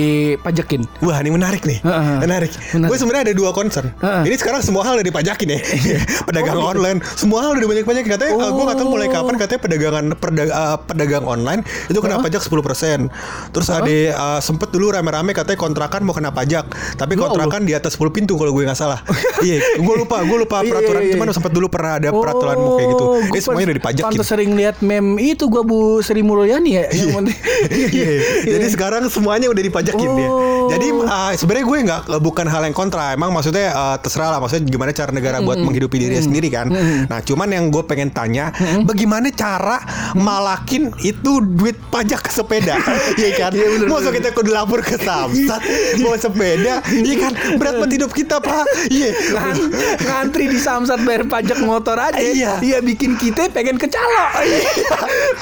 S2: dipajekin?
S1: Wah ini menarik nih
S2: Heeh.
S1: Menarik
S2: Menarik.
S1: Gue sebenarnya ada dua concern
S2: Heeh. Iya. gitu.
S1: Ini sekarang semua hal udah dipajakin ya Pedagang online Semua hal udah banyak-banyakin Katanya ah,
S2: Oh.
S1: gue gak tau mulai kapan Katanya pedagangan perda- eh, pedagang online Itu kena pajak 10% Terus ada eh, sempet dulu rame-rame Katanya kontrakan mau kena pajak Tapi
S2: Ya Allah.
S1: kontrakan di atas 10 pintu Kalau gue gak salah Iya Gue lupa Gue lupa
S2: Iya,
S1: peraturan
S2: iya, iya.
S1: Cuman sempet dulu pernah ada peraturan mau kayak gitu
S2: Oh,
S1: Ini
S2: gua
S1: semuanya
S2: pan-
S1: udah dipajakin
S2: Pantes sering lihat meme itu gua Bu Sri Mulyani ya. yang penting-
S1: Iya. Jadi sekarang semuanya udah dipajakin dia.
S2: Oh.
S1: Jadi uh, sebenarnya gue nggak bukan hal yang kontra. Emang maksudnya uh, terserah lah. Maksudnya gimana cara negara buat menghidupi dirinya sendiri kan. Nah cuman yang gue pengen tanya, bagaimana cara malakin itu duit pajak ke sepeda, Iya kan? Masa kita kudu lapor ke Samsat bawa sepeda, Iya kan? Berat banget hidup kita pak. Iya.
S2: Ngan- ngantri di Samsat bayar pajak motor aja.
S1: Iya.
S2: bikin kita pengen ke calo.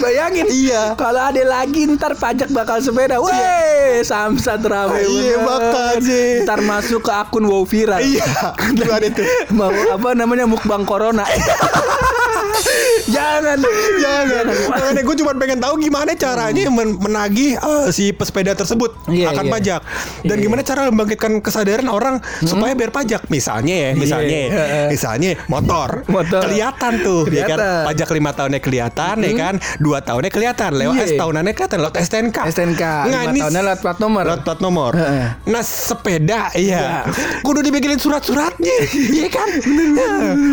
S2: Bayangin.
S1: Iya.
S2: Kalau ada lagi ntar pajak bakal sepeda. Weh, Samsat rame.
S1: Iya,
S2: bener.
S1: makanya.
S2: Ntar masuk ke akun Wow Viral.
S1: Iya. Gimana tuh?
S2: Mau apa namanya mukbang corona. Jangan. Iya,
S1: Jangan. Makanya gue cuma pengen tahu gimana caranya men- menagih eh, si pesepeda tersebut
S2: Hmm. Iya,
S1: akan
S2: iya. Hmm.
S1: pajak dan gimana cara membangkitkan kesadaran orang supaya bayar pajak misalnya ya, misalnya,
S2: Iya, iya.
S1: misalnya motor,
S2: Motor.
S1: kelihatan tuh, ya kan?
S2: Kelihatan. Hmm.
S1: Pajak lima tahunnya kelihatan, ya kan? Dua tahunnya kelihatan, lewat
S2: Iya.
S1: S tahunannya kelihatan, lewat STNK.
S2: STNK.
S1: Nah,
S2: Lima
S1: ini
S2: tahunnya lewat plat nomor.
S1: Lewat plat nomor.
S2: Heeh.
S1: Nah sepeda, iya. Kudu dibikinin surat-suratnya, iya kan?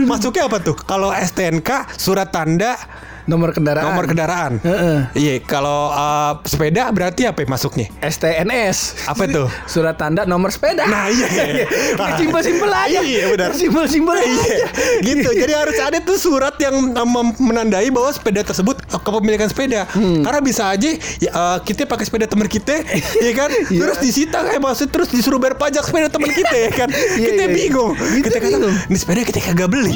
S1: Masuknya apa tuh? Kalau STNK surat tanda
S2: Nomor kendaraan.
S1: Nomor kendaraan.
S2: Heeh.
S1: Iya, kalau uh, sepeda berarti apa ya masuknya?
S2: STNS.
S1: Apa tuh?
S2: Surat tanda nomor sepeda.
S1: Nah, iya.
S2: Nah, Simpel-simpel aja.
S1: Iya, benar.
S2: Simpel-simpel aja.
S1: Iya, gitu. Jadi harus ada tuh surat yang uh, mem- menandai bahwa sepeda tersebut uh, kepemilikan sepeda. Karena bisa aja ya, uh, kita pakai sepeda teman kita, ya kan? Terus disita kayak maksud terus disuruh bayar pajak sepeda teman kita, ya kan? kita
S2: iya, iya.
S1: Gitu, bingung. Kita kata,
S2: bingung.
S1: "Ini sepeda kita kagak beli.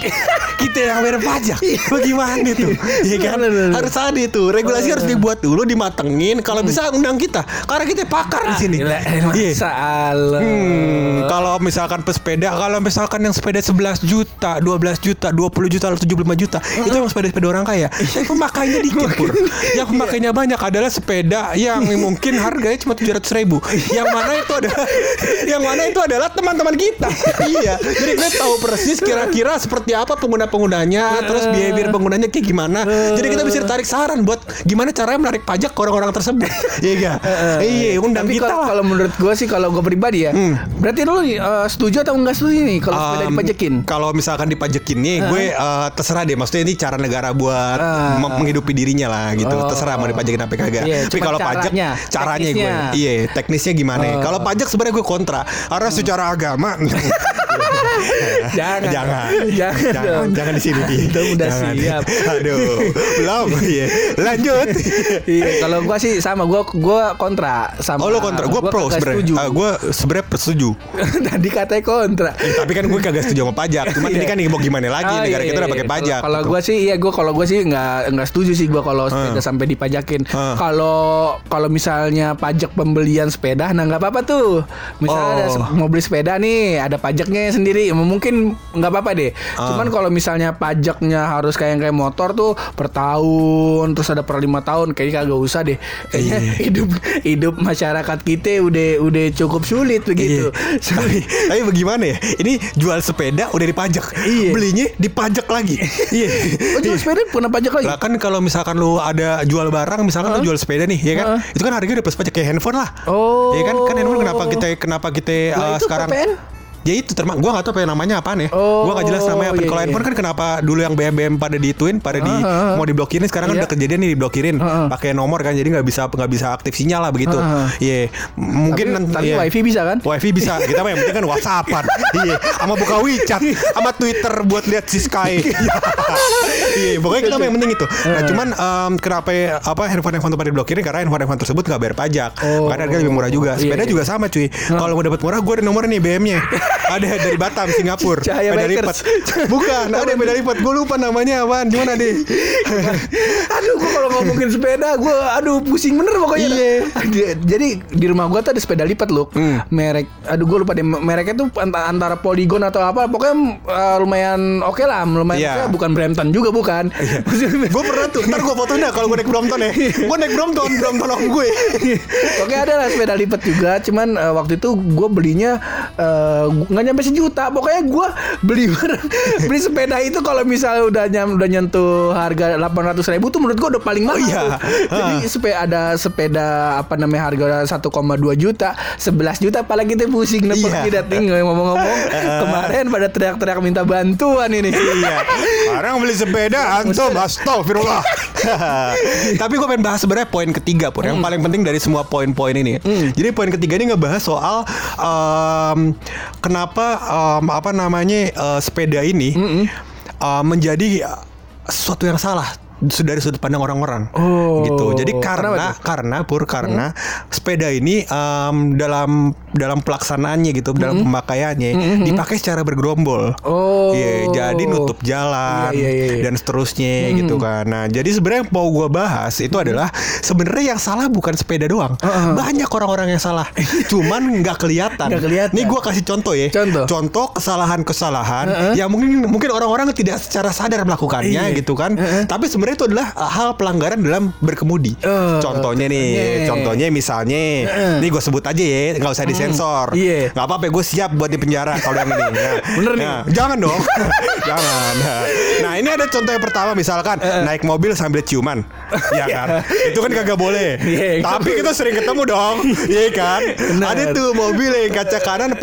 S1: kita yang bayar pajak. Bagaimana tuh? Iya regulasi kan harus ada itu regulasi harus dibuat dulu dimatengin kalau bisa undang kita karena kita pakar di sini
S2: Gila, eh,
S1: Iya.
S2: masa Allah.
S1: Hmm, kalau misalkan pesepeda, kalau misalkan yang sepeda 11 juta, 12 juta, 20 juta, 75 juta, itu yang sepeda-sepeda orang kaya. Yang pemakainya Eh. dikit, Pur. Yang pemakainya banyak adalah sepeda yang mungkin harganya cuma 700 ribu. Yang mana itu adalah yang mana itu adalah teman-teman kita. iya. Jadi kita tahu persis kira-kira seperti apa pengguna-penggunanya, terus behavior penggunanya kayak gimana. Jadi kita bisa tarik saran buat gimana caranya menarik pajak ke orang-orang tersebut. Iya, enggak? Iya, undang
S2: Eh, Tapi
S1: kita
S2: kalau
S1: lah. Hmm.
S2: kalau menurut gue sih kalau gue pribadi ya, berarti lu eh, setuju atau enggak setuju nih kalau sepeda
S1: Um,
S2: dipajekin?
S1: Kalau misalkan dipajekin nih, gue eh, terserah deh. Maksudnya ini cara negara buat
S2: Ah.
S1: mem- menghidupi dirinya lah gitu.
S2: Oh.
S1: Terserah mau dipajekin apa kagak.
S2: Iya,
S1: Tapi
S2: cuma
S1: kalau pajak
S2: caranya,
S1: caranya gue.
S2: teknisnya.
S1: Iya, teknisnya gimana? ya?
S2: Oh. Hmm.
S1: Kalau pajak sebenarnya gue kontra. Karena secara agama
S2: Jangan,
S1: jangan
S2: jangan,
S1: jangan,
S2: dong.
S1: jangan di sini. Di.
S2: Kita udah
S1: Jangan.
S2: siap.
S1: Aduh, belum. Iya. Lanjut.
S2: Iya, kalau gua sih sama gua gua kontra sama.
S1: Oh lo kontra, gue
S2: gua
S1: pro
S2: kagak
S1: sebenarnya.
S2: setuju.
S1: Eh, gue sebenarnya setuju.
S2: Tadi katanya kontra.
S1: Eh, tapi kan gue kagak setuju sama pajak. Cuman ini
S2: Iya.
S1: kan mau gimana lagi?
S2: Oh,
S1: negara
S2: iya,
S1: kita udah
S2: iya,
S1: pakai
S2: iya.
S1: pajak.
S2: Kalau
S1: gitu.
S2: gue sih iya gue kalau gue sih nggak nggak setuju sih gue kalau sepeda sampai dipajakin. Kalau kalau misalnya pajak pembelian sepeda nah nggak apa-apa tuh. Misalnya ada
S1: Oh.
S2: se- mau beli sepeda nih ada pajaknya sendiri M- mungkin nggak apa-apa deh. Cuman kalau misalnya pajaknya harus kayak kayak motor tuh per tahun terus ada per lima tahun kayaknya kagak usah deh. Kayaknya
S1: Iya.
S2: hidup hidup masyarakat kita udah udah cukup sulit begitu.
S1: Iya.
S2: Sulit.
S1: Tapi bagaimana ya? Ini jual sepeda udah dipajak.
S2: Iya.
S1: Belinya dipajak lagi. iya.
S2: Oh, jual sepeda pernah pajak lagi?
S1: Lah kan kalau misalkan lu ada jual barang, misalkan lu jual sepeda nih, ya kan? Itu kan harganya udah plus pajak kayak handphone lah.
S2: Oh.
S1: Ya kan? Kan handphone kenapa kita kenapa kita eh,
S2: Lah, itu
S1: sekarang
S2: KPN?
S1: Ya itu termasuk gua gak tahu apa yang namanya apaan ya.
S2: Oh,
S1: gua gak jelas namanya apa.
S2: iya,
S1: Kalau
S2: iya.
S1: handphone kan kenapa dulu yang BM-BM pada diituin, pada di
S2: Ah, ah,
S1: mau diblokirin sekarang kan
S2: Iya.
S1: udah kejadian nih diblokirin
S2: Ah, ah.
S1: pakai nomor kan jadi nggak bisa nggak bisa aktif sinyal lah begitu.
S2: Ah, ah.
S1: Iya. Mungkin
S2: Tapi-
S1: nanti-
S2: tapi
S1: iya.
S2: wifi bisa kan?
S1: Wifi bisa kita mah yang penting kan WhatsAppan, iya, sama buka WeChat, sama Twitter buat lihat si Sky, iya, pokoknya kita mah yang penting itu. Nah
S2: Eh.
S1: cuman em, kenapa ya, apa handphone handphone pada diblokirin karena handphone handphone tersebut nggak bayar pajak,
S2: Oh.
S1: karena harga lebih murah juga.
S2: Iya,
S1: Sepeda
S2: iya.
S1: juga sama cuy. Kalau mau dapat murah, gue ada nomor nih BM-nya, ada dari Batam, Singapura,
S2: Cahaya
S1: beda lipat,
S2: Bakers.
S1: bukan, ada beda lipat, gue lupa namanya apaan, gimana deh?
S2: aduh gue kalau ngomongin sepeda gue aduh pusing bener pokoknya
S1: Iya.
S2: Ada- jadi di rumah gue tuh ada sepeda lipat loh
S1: Hmm.
S2: merek aduh gue lupa deh mereknya tuh ant- antara Polygon atau apa pokoknya eh, lumayan oke lah lumayan
S1: Iya.
S2: oke lah. bukan Brampton juga bukan Maksudnya-
S1: Gue pernah tuh, ntar gue fotonya kalau gue naik Brompton ya, gue naik Brompton, Brompton om gue.
S2: Oke ada lah sepeda lipat juga, cuman eh, waktu itu gue belinya eh, gu- nggak nyampe sejuta, pokoknya gue beli barang- beli sepeda itu kalau misalnya udah nyam udah nyentuh harga 800.000 ribu tuh menurut gue udah paling mahal.
S1: Oh, iya.
S2: tuh. Jadi sepe- ada sepeda apa namanya harga 1,2 juta, 11 juta, apalagi kita pusing nepek
S1: Iya.
S2: tidak tinggal ngomong-ngomong kemarin pada teriak-teriak minta bantuan ini.
S1: iya. Orang beli sepeda antum astagfirullah. Tapi gue pengen bahas sebenarnya poin ketiga pur yang paling penting dari semua poin-poin ini. Jadi poin ketiga ini ngebahas soal em, kenapa em, apa namanya eh, sepeda ini eh, menjadi eh, sesuatu yang salah dari sudut pandang orang-orang
S2: Oh.
S1: gitu. Jadi
S2: Kenapa
S1: karena karena pur karena sepeda ini em, dalam dalam pelaksanaannya gitu, dalam pemakaiannya dipakai secara bergerombol.
S2: Oh.
S1: Iya, jadi nutup jalan
S2: Iya, iya, iya.
S1: dan seterusnya gitu kan. Nah, jadi sebenarnya yang mau gue bahas itu
S2: Hmm.
S1: adalah sebenarnya yang salah bukan sepeda doang. Banyak orang-orang yang salah. Cuman nggak kelihatan.
S2: Nggak kelihatan.
S1: Nih gue kasih contoh ya.
S2: Contoh.
S1: kesalahan-kesalahan yang mungkin mungkin orang-orang tidak secara sadar melakukannya
S2: Iya.
S1: gitu kan. Tapi sebenarnya itu adalah uh, hal pelanggaran dalam berkemudi.
S2: Eh,
S1: contohnya nih,
S2: contohnya.
S1: contohnya misalnya, nih gue sebut aja ya, nggak usah disensor.
S2: Hmm. Iya.
S1: Nggak apa-apa, gue siap buat di penjara kalau yang ini. Nah,
S2: Bener nih.
S1: nah, Jangan dong. Jangan. Nah, ini ada contoh yang pertama misalkan
S2: Eh,
S1: naik mobil sambil ciuman. ya kan? Itu kan kagak boleh.
S2: Iya.
S1: Tapi kita sering ketemu dong. Iya kan?
S2: Bener.
S1: Ada tuh mobil yang kaca kanan 40%,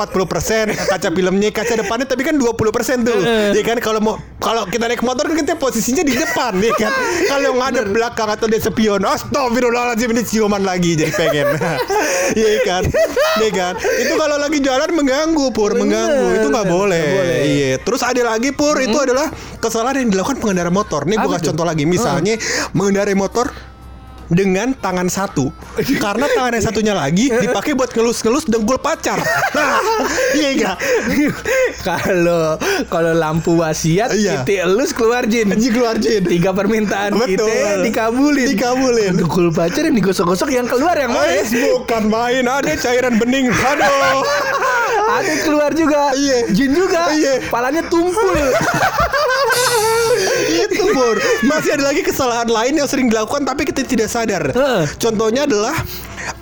S1: kaca filmnya, kaca depannya tapi kan 20% tuh.
S2: Eh,
S1: Iya kan kalau mau kalau kita naik motor kan kita posisinya di depan, ya kan? Kalau ngadep belakang atau dia spion, astagfirullahaladzim ini ciuman lagi jadi pengen. Iya kan? Iya kan? Itu kalau lagi jalan mengganggu, Pur, mengganggu. Itu nggak
S2: Bener.
S1: boleh.
S2: Nggak boleh. Hmm.
S1: Iya. Terus ada lagi pur itu adalah kesalahan yang dilakukan pengendara motor. Nih gue
S2: Apa
S1: kasih
S2: tuh?
S1: contoh lagi. Misalnya mengendarai motor dengan tangan satu karena tangan yang satunya lagi dipakai buat ngelus-ngelus dengkul pacar. Nah, iya enggak?
S2: Kalau kalau lampu wasiat
S1: Iya.
S2: titik elus keluar jin.
S1: Anjing keluar jin.
S2: Tiga permintaan
S1: Betul.
S2: kita dikabulin.
S1: Dikabulin. Oh, iya.
S2: Dukul pacar yang digosok-gosok yang keluar yang mana?
S1: Ais bukan main, ada cairan bening. Aduh.
S2: Ada keluar juga.
S1: Iya.
S2: Jin juga.
S1: Iya. Eh.
S2: Palanya tumpul.
S1: Itu Bor Gitu, Masih ada lagi kesalahan lain yang sering dilakukan tapi kita tidak sadar
S2: Heeh.
S1: Contohnya adalah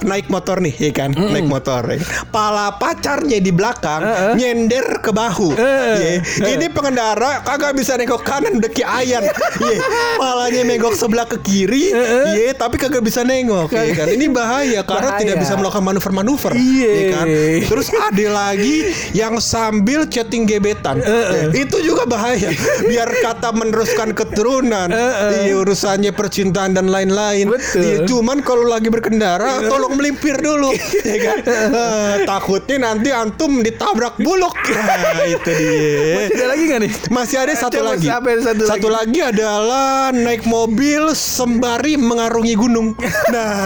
S1: naik motor nih ya kan naik motor ya. pala pacarnya di belakang
S2: Heeh.
S1: nyender ke bahu
S2: Heeh.
S1: Ya. ini pengendara kagak bisa nengok kanan udah ki ayan Ya. palanya menggok sebelah ke kiri ya tapi kagak bisa nengok ya kan ini bahaya karena
S2: Bahaya.
S1: tidak bisa melakukan manuver-manuver
S2: Iya.
S1: ya kan terus ada lagi yang sambil chatting gebetan
S2: Heeh.
S1: Ya, itu juga bahaya biar kata meneruskan keturunan
S2: Heeh.
S1: iya, urusannya percintaan dan lain-lain
S2: Betul. Iya.
S1: Iya, cuman kalau lagi berkendara tolong melimpir dulu ya kan Eh, takutnya nanti antum ditabrak buluk nah, itu dia
S2: Tidak lagi nggak nih?
S1: masih ada satu
S2: Coba
S1: lagi.
S2: siapa yang satu
S1: lagi. adalah naik mobil sembari mengarungi gunung. Nah,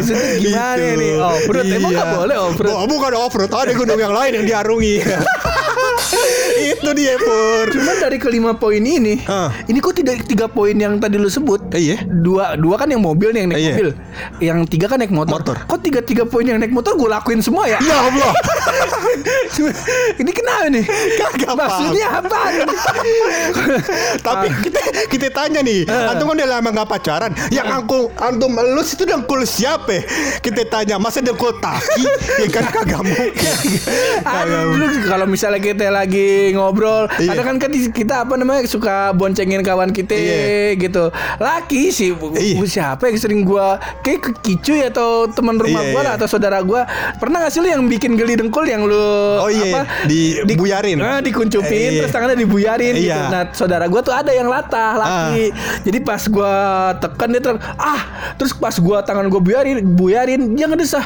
S2: Maksudnya gimana nih? Off-road? Emang nggak boleh off-road?
S1: Oh, bukan off-road, ada gunung yang lain yang diarungi. Itu dia, Pur.
S2: Cuman dari kelima poin ini,
S1: Ah.
S2: ini kok tidak tiga poin yang tadi lu sebut?
S1: Eh, iya.
S2: Dua dua kan yang mobil nih yang naik
S1: Eh, iya.
S2: mobil, yang tiga kan naik motor.
S1: Motor.
S2: Kok tiga tiga poin yang naik motor gue lakuin semua ya?
S1: Ya Allah.
S2: ini kenapa nih?
S1: Kagak paham.
S2: Maksudnya apa? Ah.
S1: Tapi kita kita tanya nih, antum kan udah lama nggak pacaran. Yang
S2: Ah.
S1: angkul antum elus itu dengkul siapa? Kita tanya, masa dengkul taki? ya kan kagak mungkin. Kagak
S2: Aduh, dulu kalau misalnya kita lagi ngobrol,
S1: Iya.
S2: ada kan kan di- kita apa namanya suka boncengin kawan kita
S1: Iya.
S2: gitu. Laki sih,
S1: Iya.
S2: siapa yang sering gua kayak ke kicuy atau teman rumah
S1: Iya,
S2: gua
S1: iya.
S2: lah, atau saudara gua pernah nggak sih lu yang bikin geli dengkul yang lu
S1: Oh, iya, dibuyarin.
S2: Ah, dikuncupin
S1: Iya.
S2: terus tangannya dibuyarin gitu.
S1: Iya. Ah.
S2: Nah, saudara gua tuh ada yang latah laki. Jadi pas gua tekan dia ter ah, terus pas gua tangan gua buyarin, buyarin dia ngedesah.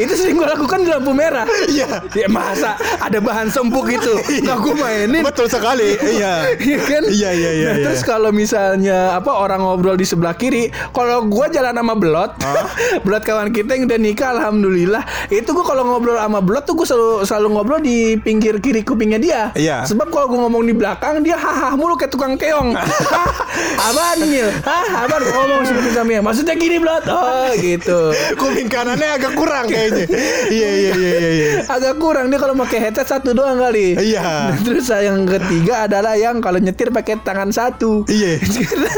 S2: itu sering gue lakukan di lampu merah
S1: Iya.
S2: ya masa ada bahan sempuk itu nggak gue mainin
S1: Betul sekali. Iya.
S2: Iya kan?
S1: Iya iya iya.
S2: Nah,
S1: iya.
S2: Terus kalau misalnya apa orang ngobrol di sebelah kiri, kalau gua jalan sama Belot, Belot kawan kita yang udah nikah alhamdulillah, itu gua kalau ngobrol sama Belot tuh gua selalu selalu ngobrol di pinggir kiri kupingnya dia.
S1: Iya.
S2: Sebab kalau gua ngomong di belakang dia haha mulu kayak tukang keong. Hah, Apaan Nyil? Hah, apaan Gua ngomong seperti sama dia. Maksudnya gini Belot. Oh, gitu.
S1: kuping kanannya agak kurang kayaknya. Iya iya iya iya. iya.
S2: agak kurang dia kalau pakai headset satu doang kali.
S1: Iya.
S2: Nah, Terus yang ketiga adalah yang kalau nyetir pakai tangan satu.
S1: Iya.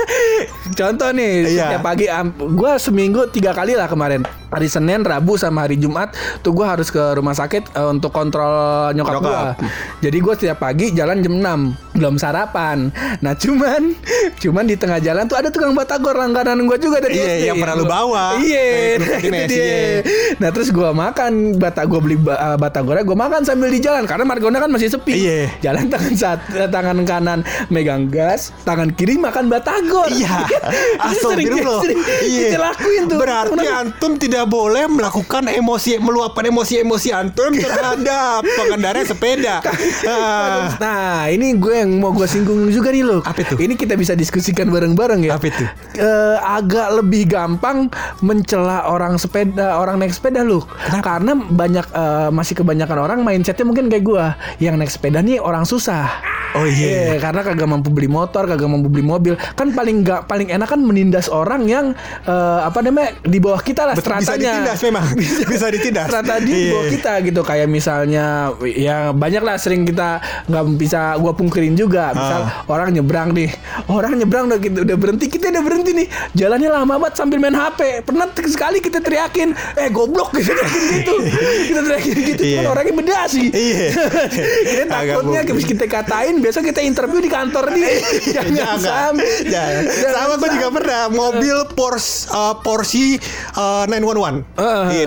S2: Contoh nih,
S1: Iya.
S2: setiap pagi am- gua seminggu tiga kali lah kemarin. Hari Senin, Rabu sama hari Jumat tuh gua harus ke rumah sakit eh, untuk kontrol nyokap,
S1: Nyokap.
S2: gua. Jadi gua setiap pagi jalan jam 6 belum sarapan. Nah cuman cuman di tengah jalan tuh ada tukang batagor langganan gua juga dari
S1: Iya,
S2: SD.
S1: yang pernah lu bawa.
S2: Iya,
S1: Nah, itu
S2: itu
S1: dia.
S2: dia. Nah terus gua makan bata gua beli ba- eh, batagornya gua makan sambil di jalan karena Margonda kan masih sepi.
S1: Iya.
S2: Jalan tangan sat, eh, tangan kanan megang gas, tangan kiri makan batagor.
S1: Iya.
S2: Itu sering-
S1: Astagfirullah. Iya.
S2: sering Kita lakuin tuh.
S1: Berarti
S2: Kenapa?
S1: antum tidak boleh melakukan emosi meluapkan emosi-emosi antum terhadap pengendara sepeda. Ah.
S2: Nah ini gue yang mau gue singgung juga nih loh
S1: Apa itu?
S2: Ini kita bisa diskusikan bareng-bareng ya
S1: Apa itu?
S2: Eh, Agak lebih gampang mencela orang sepeda Orang naik sepeda loh Karena banyak eh, masih kebanyakan orang mindsetnya mungkin kayak gue Yang naik sepeda nih orang susah
S1: Oh iya.
S2: Iya, karena kagak mampu beli motor, kagak mampu beli mobil. Kan paling nggak paling enak kan menindas orang yang eh, apa namanya di bawah kita lah
S1: Betul, Bisa
S2: stratanya.
S1: ditindas memang. Bisa ditindas.
S2: Strata dia di bawah
S1: Iya.
S2: kita gitu kayak misalnya ya banyak lah sering kita nggak bisa gua pungkirin juga. Misal
S1: Ah.
S2: orang nyebrang nih, orang nyebrang udah gitu, udah berhenti kita udah berhenti nih. Jalannya lama banget sambil main HP. Pernah t- sekali kita teriakin, eh goblok gitu gitu. kita teriakin gitu,
S1: Iya.
S2: cuman orangnya beda sih
S1: Iya.
S2: kita
S1: Agak Iya.
S2: takutnya
S1: mungkin.
S2: habis kita katain besok kita interview di kantor dia jangan sampai
S1: Iya. Jangan. Sama gue juga pernah mobil Porsche uh, Porsche uh, 911 911.
S2: Heeh,
S1: Iya,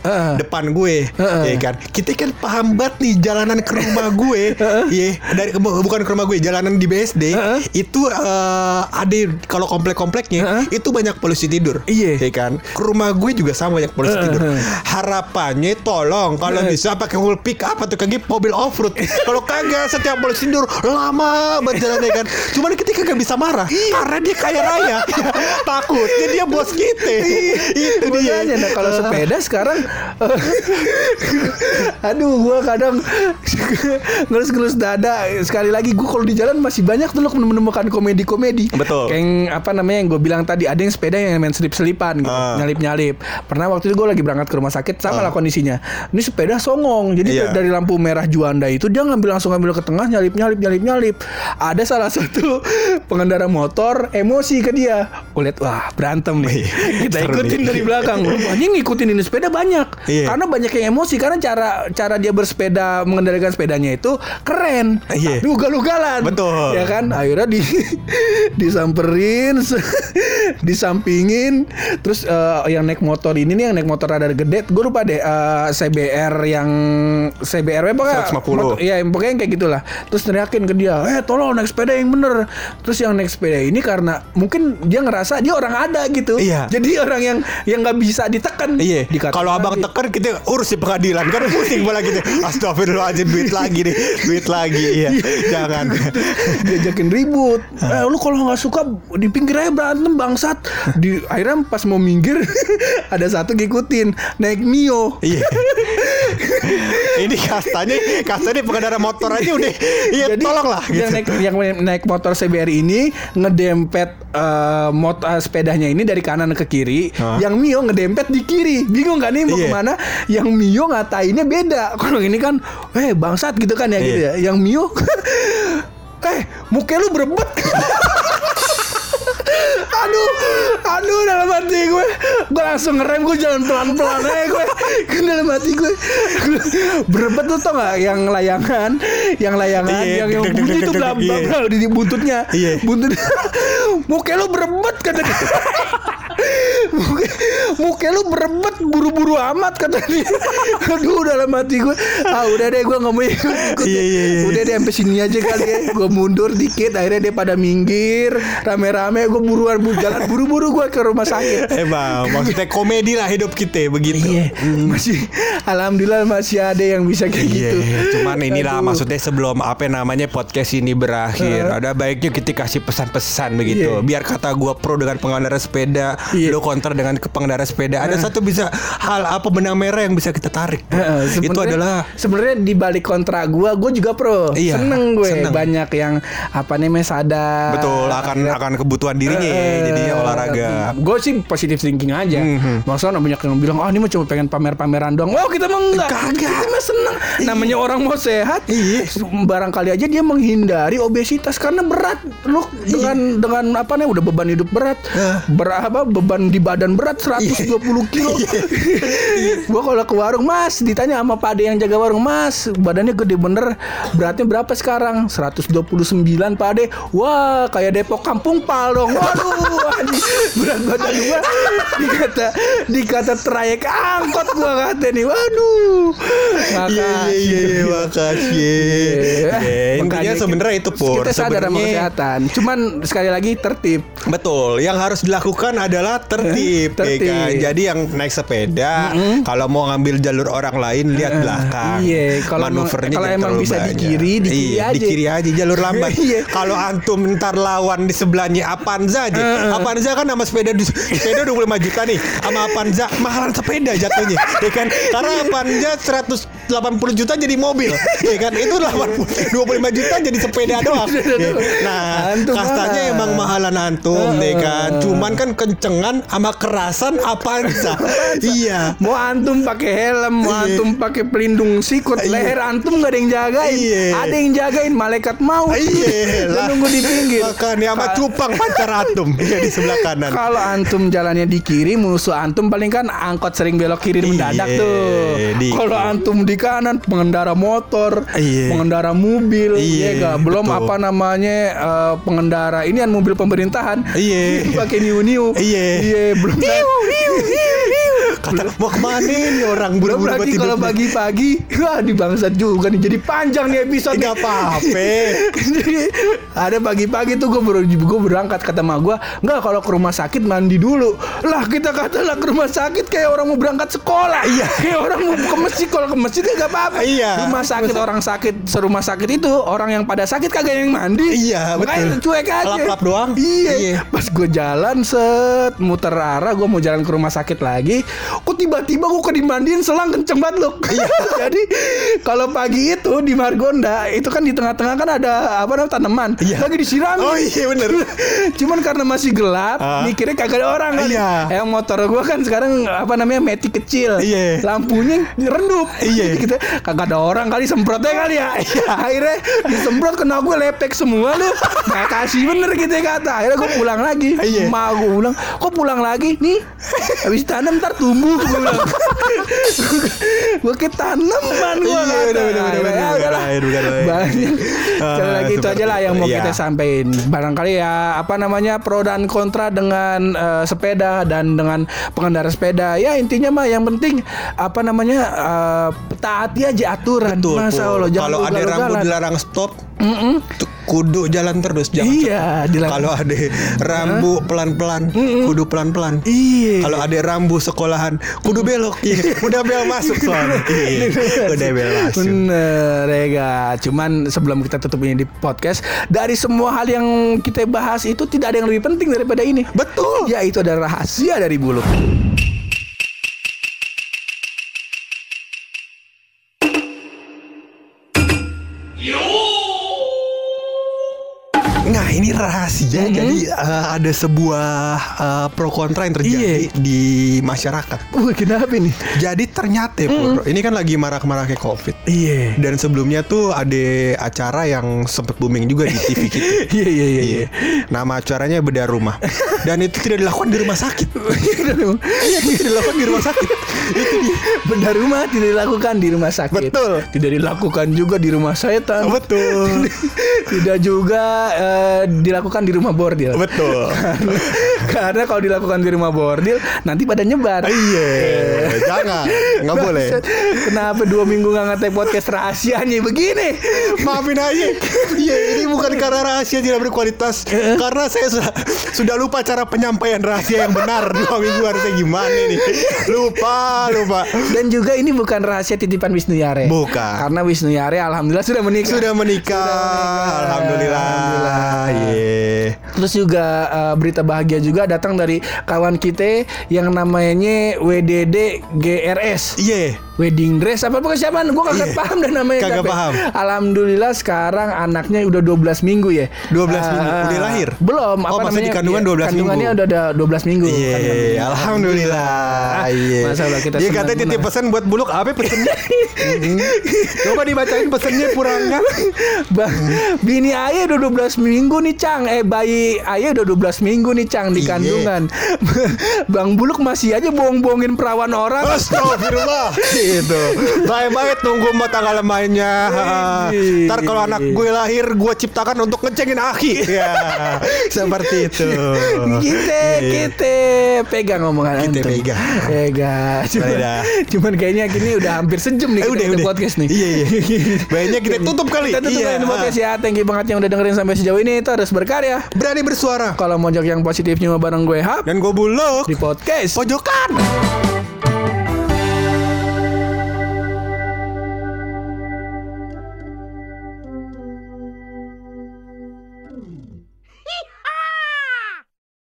S1: 911.
S2: Heeh.
S1: Depan gue.
S2: Heeh.
S1: Iya kan. Kita kan paham banget nih jalanan ke rumah gue. Iya, dari bu- bukan ke rumah gue, jalanan di BSD
S2: Heeh.
S1: itu eh, ada kalau komplek-kompleknya
S2: Heeh.
S1: itu banyak polisi tidur.
S2: Iya.
S1: kan. Ke rumah gue juga sama banyak polisi
S2: Heeh,
S1: tidur.
S2: heeh.
S1: gitu. Harapannya tolong kalau
S2: Heeh.
S1: bisa pakai mobil pick up atau kagak mobil off road. kalau kagak setiap polisi tidur lama banget jalannya kan. Cuman kita kagak bisa marah
S2: Iya.
S1: karena dia kaya raya. Takutnya dia bos kita. Itu dia.
S2: Makanya Iya. nah, kalau sepeda sekarang eh, Aduh gua kadang Ngelus-ngelus dada Sekali lagi gua kalau di jalan masih banyak tuh lo menemukan komedi-komedi
S1: Betul.
S2: Kayak yang, apa namanya yang gue bilang tadi Ada yang sepeda yang main selip-selipan gitu
S1: Ah.
S2: Nyalip-nyalip Pernah waktu itu gue lagi berangkat ke rumah sakit Sama lah kondisinya Ini sepeda songong Jadi
S1: Iya.
S2: dari lampu merah Juanda itu Dia ngambil langsung ngambil ke tengah Nyalip-nyalip nyalip-nyalip Ada salah satu pengendara motor Emosi ke dia Gue liat wah berantem nih Kita
S1: Iya, Seru
S2: ikutin
S1: nih.
S2: dari belakang. Anjing ngikutin ini sepeda banyak.
S1: Iya.
S2: Karena banyak yang emosi karena cara cara dia bersepeda mengendalikan sepedanya itu keren.
S1: Iya.
S2: Tapi ugal-ugalan.
S1: Betul.
S2: Ya kan? Akhirnya di disamperin, se- disampingin, terus eh, yang naik motor ini nih yang naik motor rada gede, gue lupa deh eh, CBR yang CBR apa
S1: 150.
S2: Iya, yang pokoknya yang kayak gitulah. Terus teriakin ke dia, "Eh, tolong naik sepeda yang bener." Terus yang naik sepeda ini karena mungkin dia ngerasa dia orang ada gitu.
S1: Iya.
S2: Jadi orang yang yang nggak bisa ditekan.
S1: Iya,
S2: Dikatakan
S1: kalau abang
S2: tadi.
S1: tekan kita urus di pengadilan kan pusing malah gitu. Astagfirullahaladzim duit lagi nih, duit lagi. Iya, jangan.
S2: diajakin ribut. Eh,
S1: Ah.
S2: lu kalau nggak suka di pinggir aja berantem bangsat. Di akhirnya pas mau minggir ada satu ngikutin naik Mio.
S1: Iya. Ini kastanya, kastanya pengendara motor aja udah. Iya, tolonglah
S2: Yang
S1: gitu.
S2: naik, yang naik motor CBR ini ngedempet eh, mot eh, sepedanya ini dari kanan ke kiri.
S1: Hah?
S2: Yang Mio ngedempet di kiri. Bingung kan ini mau
S1: Iya.
S2: kemana? Yang Mio ngatainnya beda. Kalau ini kan, eh bangsat gitu kan ya gitu
S1: Iya.
S2: ya. Yang Mio, eh muka lu berebet. aduh, aduh dalam hati gue, gue langsung ngerem gue jalan pelan-pelan aja gue, Gue dalam hati gue, berebet tuh tau gak yang layangan, yang layangan,
S1: Iya,
S2: yang yang
S1: deg-deg,
S2: bunyi itu
S1: deg-deg,
S2: blam
S1: iya.
S2: blam blam di di buntutnya,
S1: Iya.
S2: buntut, muka lu berebet kata dia. Muka, muka lu berebet buru-buru amat kata dia. Aduh dalam hati gue, ah udah deh gue nggak mau ikut. ikut
S1: Iya, iya, iya.
S2: Udah deh Eh, sampai sini aja kali ya gue mundur dikit akhirnya dia pada minggir rame-rame gue buruan bu jalan buru-buru gue ke rumah sakit
S1: Emang maksudnya komedi lah hidup kita begitu.
S2: iya masih alhamdulillah masih ada yang bisa kayak
S1: Hmm. Iya,
S2: gitu
S1: cuman inilah
S2: Aduh.
S1: maksudnya sebelum apa namanya podcast ini berakhir,
S2: Heeh.
S1: ada baiknya kita kasih pesan-pesan begitu.
S2: Iya.
S1: Biar kata gua pro dengan pengendara sepeda,
S2: Iya.
S1: lo kontra dengan ke pengendara sepeda. Ada satu bisa hal apa benang merah yang bisa kita tarik.
S2: Heeh,
S1: Itu
S2: sebenarnya-
S1: adalah
S2: sebenarnya di balik kontra gue, gue juga pro.
S1: Iya,
S2: seneng gue
S1: seneng.
S2: banyak yang apa namanya sadar.
S1: betul akan akan kebutuhan dirinya ya, jadinya olahraga. Mhm.
S2: Gue sih positive thinking aja. Maksudnya banyak yang bilang, "Ah, ini mah cuma pengen pamer-pameran doang." Wow, kita mah enggak.
S1: Kagak.
S2: Kita mah seneng. Namanya orang mau sehat. Barangkali aja dia menghindari obesitas karena berat. Lu dengan dengan apa nih udah beban hidup berat. Berapa beban di badan berat 120 kilo. Gua kalau ke warung, "Mas, ditanya sama Pak Ade yang jaga warung, "Mas, badannya gede bener. Beratnya berapa sekarang?" 129, Pak Ade. Wah, kayak Depok Kampung Pal dong. Waduh, anjing. berat badan gua dikata dikata trayek angkot gua kata nih. Waduh.
S1: Iya iya iya iya, makasih. Iya,
S2: Eh, Makanya
S1: Intinya
S2: kita-
S1: sebenarnya itu pur.
S2: Kita sadar sama
S1: Sebenarnya-
S2: kesehatan. Cuman sekali lagi tertib.
S1: Betul, yang harus dilakukan adalah tertib, ya
S2: Eh, Tertib.
S1: kan? Jadi yang naik sepeda, kalau mau ngambil jalur orang lain lihat belakang.
S2: Iya, kalau emang-
S1: Manuvernya
S2: kalau
S1: jangan
S2: emang
S1: terlalu
S2: bisa di
S1: banyak.
S2: kiri, di kiri
S1: Iya, di
S2: aja.
S1: kiri aja jalur lambat.
S2: Iya.
S1: kalau antum ntar lawan di sebelahnya Avanza aja.
S2: Eh,
S1: Avanza kan sama sepeda di- sepeda 25 juta nih, sama Avanza mahalan sepeda jatuhnya, ya kan? Karena Avanza 180 juta jadi mobil, ya kan? Itu 80, 25 juta jadi sepeda doang. Ya. Nah,
S2: Antum
S1: kastanya
S2: malah.
S1: emang mahal halan
S2: Eh,
S1: antum deh kan cuman kan kencengan sama kerasan Avanza iya
S2: Mau antum pakai helm, mau
S1: Iya.
S2: antum pakai pelindung sikut, leher antum gak ada yang jagain.
S1: Iya.
S2: Ada yang jagain malaikat mau.
S1: iya
S2: Lu nunggu di pinggir.
S1: makanya sama cupang pacar atom iya di sebelah kanan
S2: Kalau antum jalannya di kiri, musuh antum paling kan angkot sering belok kiri mendadak
S1: Iya,
S2: tuh.
S1: di-
S2: Kalau antum di kanan, pengendara motor,
S1: Iya.
S2: pengendara mobil,
S1: Iya,
S2: nggak? belum
S1: betul.
S2: apa namanya eh, pengendara ini kan mobil pemerintahan.
S1: Iya.
S2: Pakai niu niu.
S1: Iya.
S2: Iya, belum. Niu niu niu niu.
S1: Kata mau kemana nih orang
S2: Belum
S1: buru-buru
S2: lagi
S1: banget
S2: kalau
S1: hidupnya.
S2: pagi-pagi, wah di bangsat juga nih. Jadi panjang nih episode.
S1: Nggak apa-apa.
S2: Jadi ada pagi-pagi tuh gue baru gue berangkat kata ma gue, nggak kalau ke rumah sakit mandi dulu. Lah kita katalah ke rumah sakit kayak orang mau berangkat sekolah. Iya. Kayak orang mau ke masjid kalau ke masjid kan nggak apa-apa.
S1: Iya.
S2: Rumah sakit orang sakit serumah sakit itu orang yang pada sakit kagak yang mandi.
S1: Iya,
S2: Makanya
S1: betul.
S2: cuek aja.
S1: Lap-lap doang.
S2: Iya.
S1: Iya.
S2: Pas gue jalan set muter arah gue mau jalan ke rumah sakit lagi, kok tiba-tiba gue kedimandiin selang kenceng banget loh. Jadi kalau pagi itu di Margonda itu kan di tengah-tengah kan ada apa namanya tanaman lagi disiram.
S1: Oh iya bener.
S2: Cuman karena masih gelap,
S1: Ah.
S2: mikirnya kagak ada orang kan.
S1: Iya.
S2: Yang motor gua kan sekarang apa namanya meti kecil.
S1: Iya.
S2: Lampunya redup.
S1: Iya.
S2: Gitu. Kagak ada orang kali semprotnya kali ya. Akhirnya disemprot kena gue lepek semua lu. Nah, kasih bener gitu ya kata. Akhirnya gue pulang lagi.
S1: Iya.
S2: Mau gue pulang, kok pulang lagi? Nih, habis tanam ntar tumbuh gue bilang. gue ke tanaman gue
S1: Iya,
S2: kata.
S1: bener, bener, bener,
S2: Akhirnya,
S1: bener,
S2: udahlah.
S1: bener, bener, bener.
S2: Banyak. Sekali
S1: Ah,
S2: lagi itu
S1: seperti
S2: aja lah yang
S1: itu,
S2: mau
S1: iya.
S2: kita sampaikan barangkali ya apa namanya pro dan kontra dengan eh, sepeda dan dengan pengendara sepeda ya intinya mah yang penting apa namanya eh, taati aja aturan
S1: Betul.
S2: masa
S1: Pur.
S2: Allah jangan
S1: Kalau ada
S2: ugal-ugalan.
S1: rambu dilarang stop,
S2: Mm-mm.
S1: tu- kudu jalan terus jangan. stop.
S2: iya dilarang
S1: Kalau ada rambu pelan-pelan, kudu pelan-pelan.
S2: iya
S1: Kalau ada rambu sekolahan, kudu belok. Iya, udah bel masuk soalnya. Mm. Iya, udah bel masuk.
S2: Bener ya ga? Cuman sebelum kita tutup ini di podcast Dari semua hal yang kita bahas itu Tidak ada yang lebih penting daripada ini
S1: Betul.
S2: Yaitu ada rahasia dari bulu
S1: Nah ini rahasia Jadi eh, ada sebuah eh, pro kontra yang terjadi di masyarakat
S2: Wah kenapa nih?
S1: Jadi ternyata Pur, Ini kan lagi marak-maraknya covid
S2: Iya
S1: Dan sebelumnya tuh ada acara yang sempet booming juga di TV kita
S2: Iya iya iya iya.
S1: Iya. Nama acaranya bedah rumah Dan itu tidak dilakukan di rumah sakit Iya itu tidak dilakukan di rumah sakit
S2: Benda rumah tidak dilakukan di rumah sakit.
S1: Betul.
S2: Tidak dilakukan juga di rumah setan.
S1: Betul
S2: tidak juga eh, dilakukan di rumah bordil.
S1: Betul
S2: Karena kalau dilakukan di rumah bordil nanti pada nyebar.
S1: Iya Nah, Jangan Nggak boleh
S2: Bangsat. Kenapa dua minggu nggak ngetek podcast rahasianya begini?
S1: Maafin aja. Iya, ini bukan karena rahasia tidak berkualitas. karena saya sudah, sudah lupa cara penyampaian rahasia yang benar. Dua minggu harusnya gimana nih? Lupa, lupa.
S2: Dan juga ini bukan rahasia titipan Wisnu Yare.
S1: Bukan.
S2: Karena Wisnu Yare alhamdulillah sudah menikah.
S1: Sudah menikah. Alhamdulillah.
S2: Alhamdulillah.
S1: Iya.
S2: Terus juga eh, berita bahagia juga datang dari kawan kita yang namanya WDD GRS.
S1: Iya.
S2: Wedding dress apa persiapan? Gue kagak
S1: Iya.
S2: paham dan namanya
S1: Kagak
S2: siapa. ya.
S1: paham.
S2: Alhamdulillah sekarang anaknya udah 12 minggu ya.
S1: 12
S2: Ah,
S1: minggu. Udah lahir?
S2: Belum.
S1: Oh, masih di kandungan 12
S2: Iya,
S1: minggu.
S2: Kandungannya udah ada 12 minggu.
S1: Iya,
S2: Kandungan.
S1: alhamdulillah. Iya.
S2: Masya Allah, kita
S1: Dia
S2: senang
S1: katanya titip
S2: benar.
S1: pesan buat Buluk apa pesennya? Mhm. Coba dibacain pesennya Purangga.
S2: Bang, bini ayah udah 12 minggu nih Cang Eh bayi ayah udah 12 minggu nih Cang Di
S1: Iya.
S2: kandungan Bang Buluk masih aja bohong-bohongin perawan orang
S1: Astagfirullah Gitu Saya banget nunggu mbak tanggal mainnya Ha.
S2: Wih.
S1: Ntar kalau anak gue lahir Gue ciptakan untuk ngecengin Aki Ya
S2: Iya.
S1: Seperti itu
S2: kita kita pegang omongan
S1: Iya. Kita
S2: antum.
S1: pegang.
S2: pegang cuman,
S1: Boleh dah.
S2: cuman kayaknya gini udah hampir sejam nih
S1: Eh, udah,
S2: ada
S1: udah.
S2: podcast nih
S1: Iya, iya. Kayaknya kita tutup kali.
S2: kita tutup
S1: Iya,
S2: kali ini
S1: ha.
S2: podcast ya thank you banget yang udah dengerin sampai sejauh ini itu harus berkarya
S1: Berani bersuara
S2: kalau mau jok yang positifnya bareng gue hap
S1: Dan gue buluk
S2: di podcast
S1: Pojokan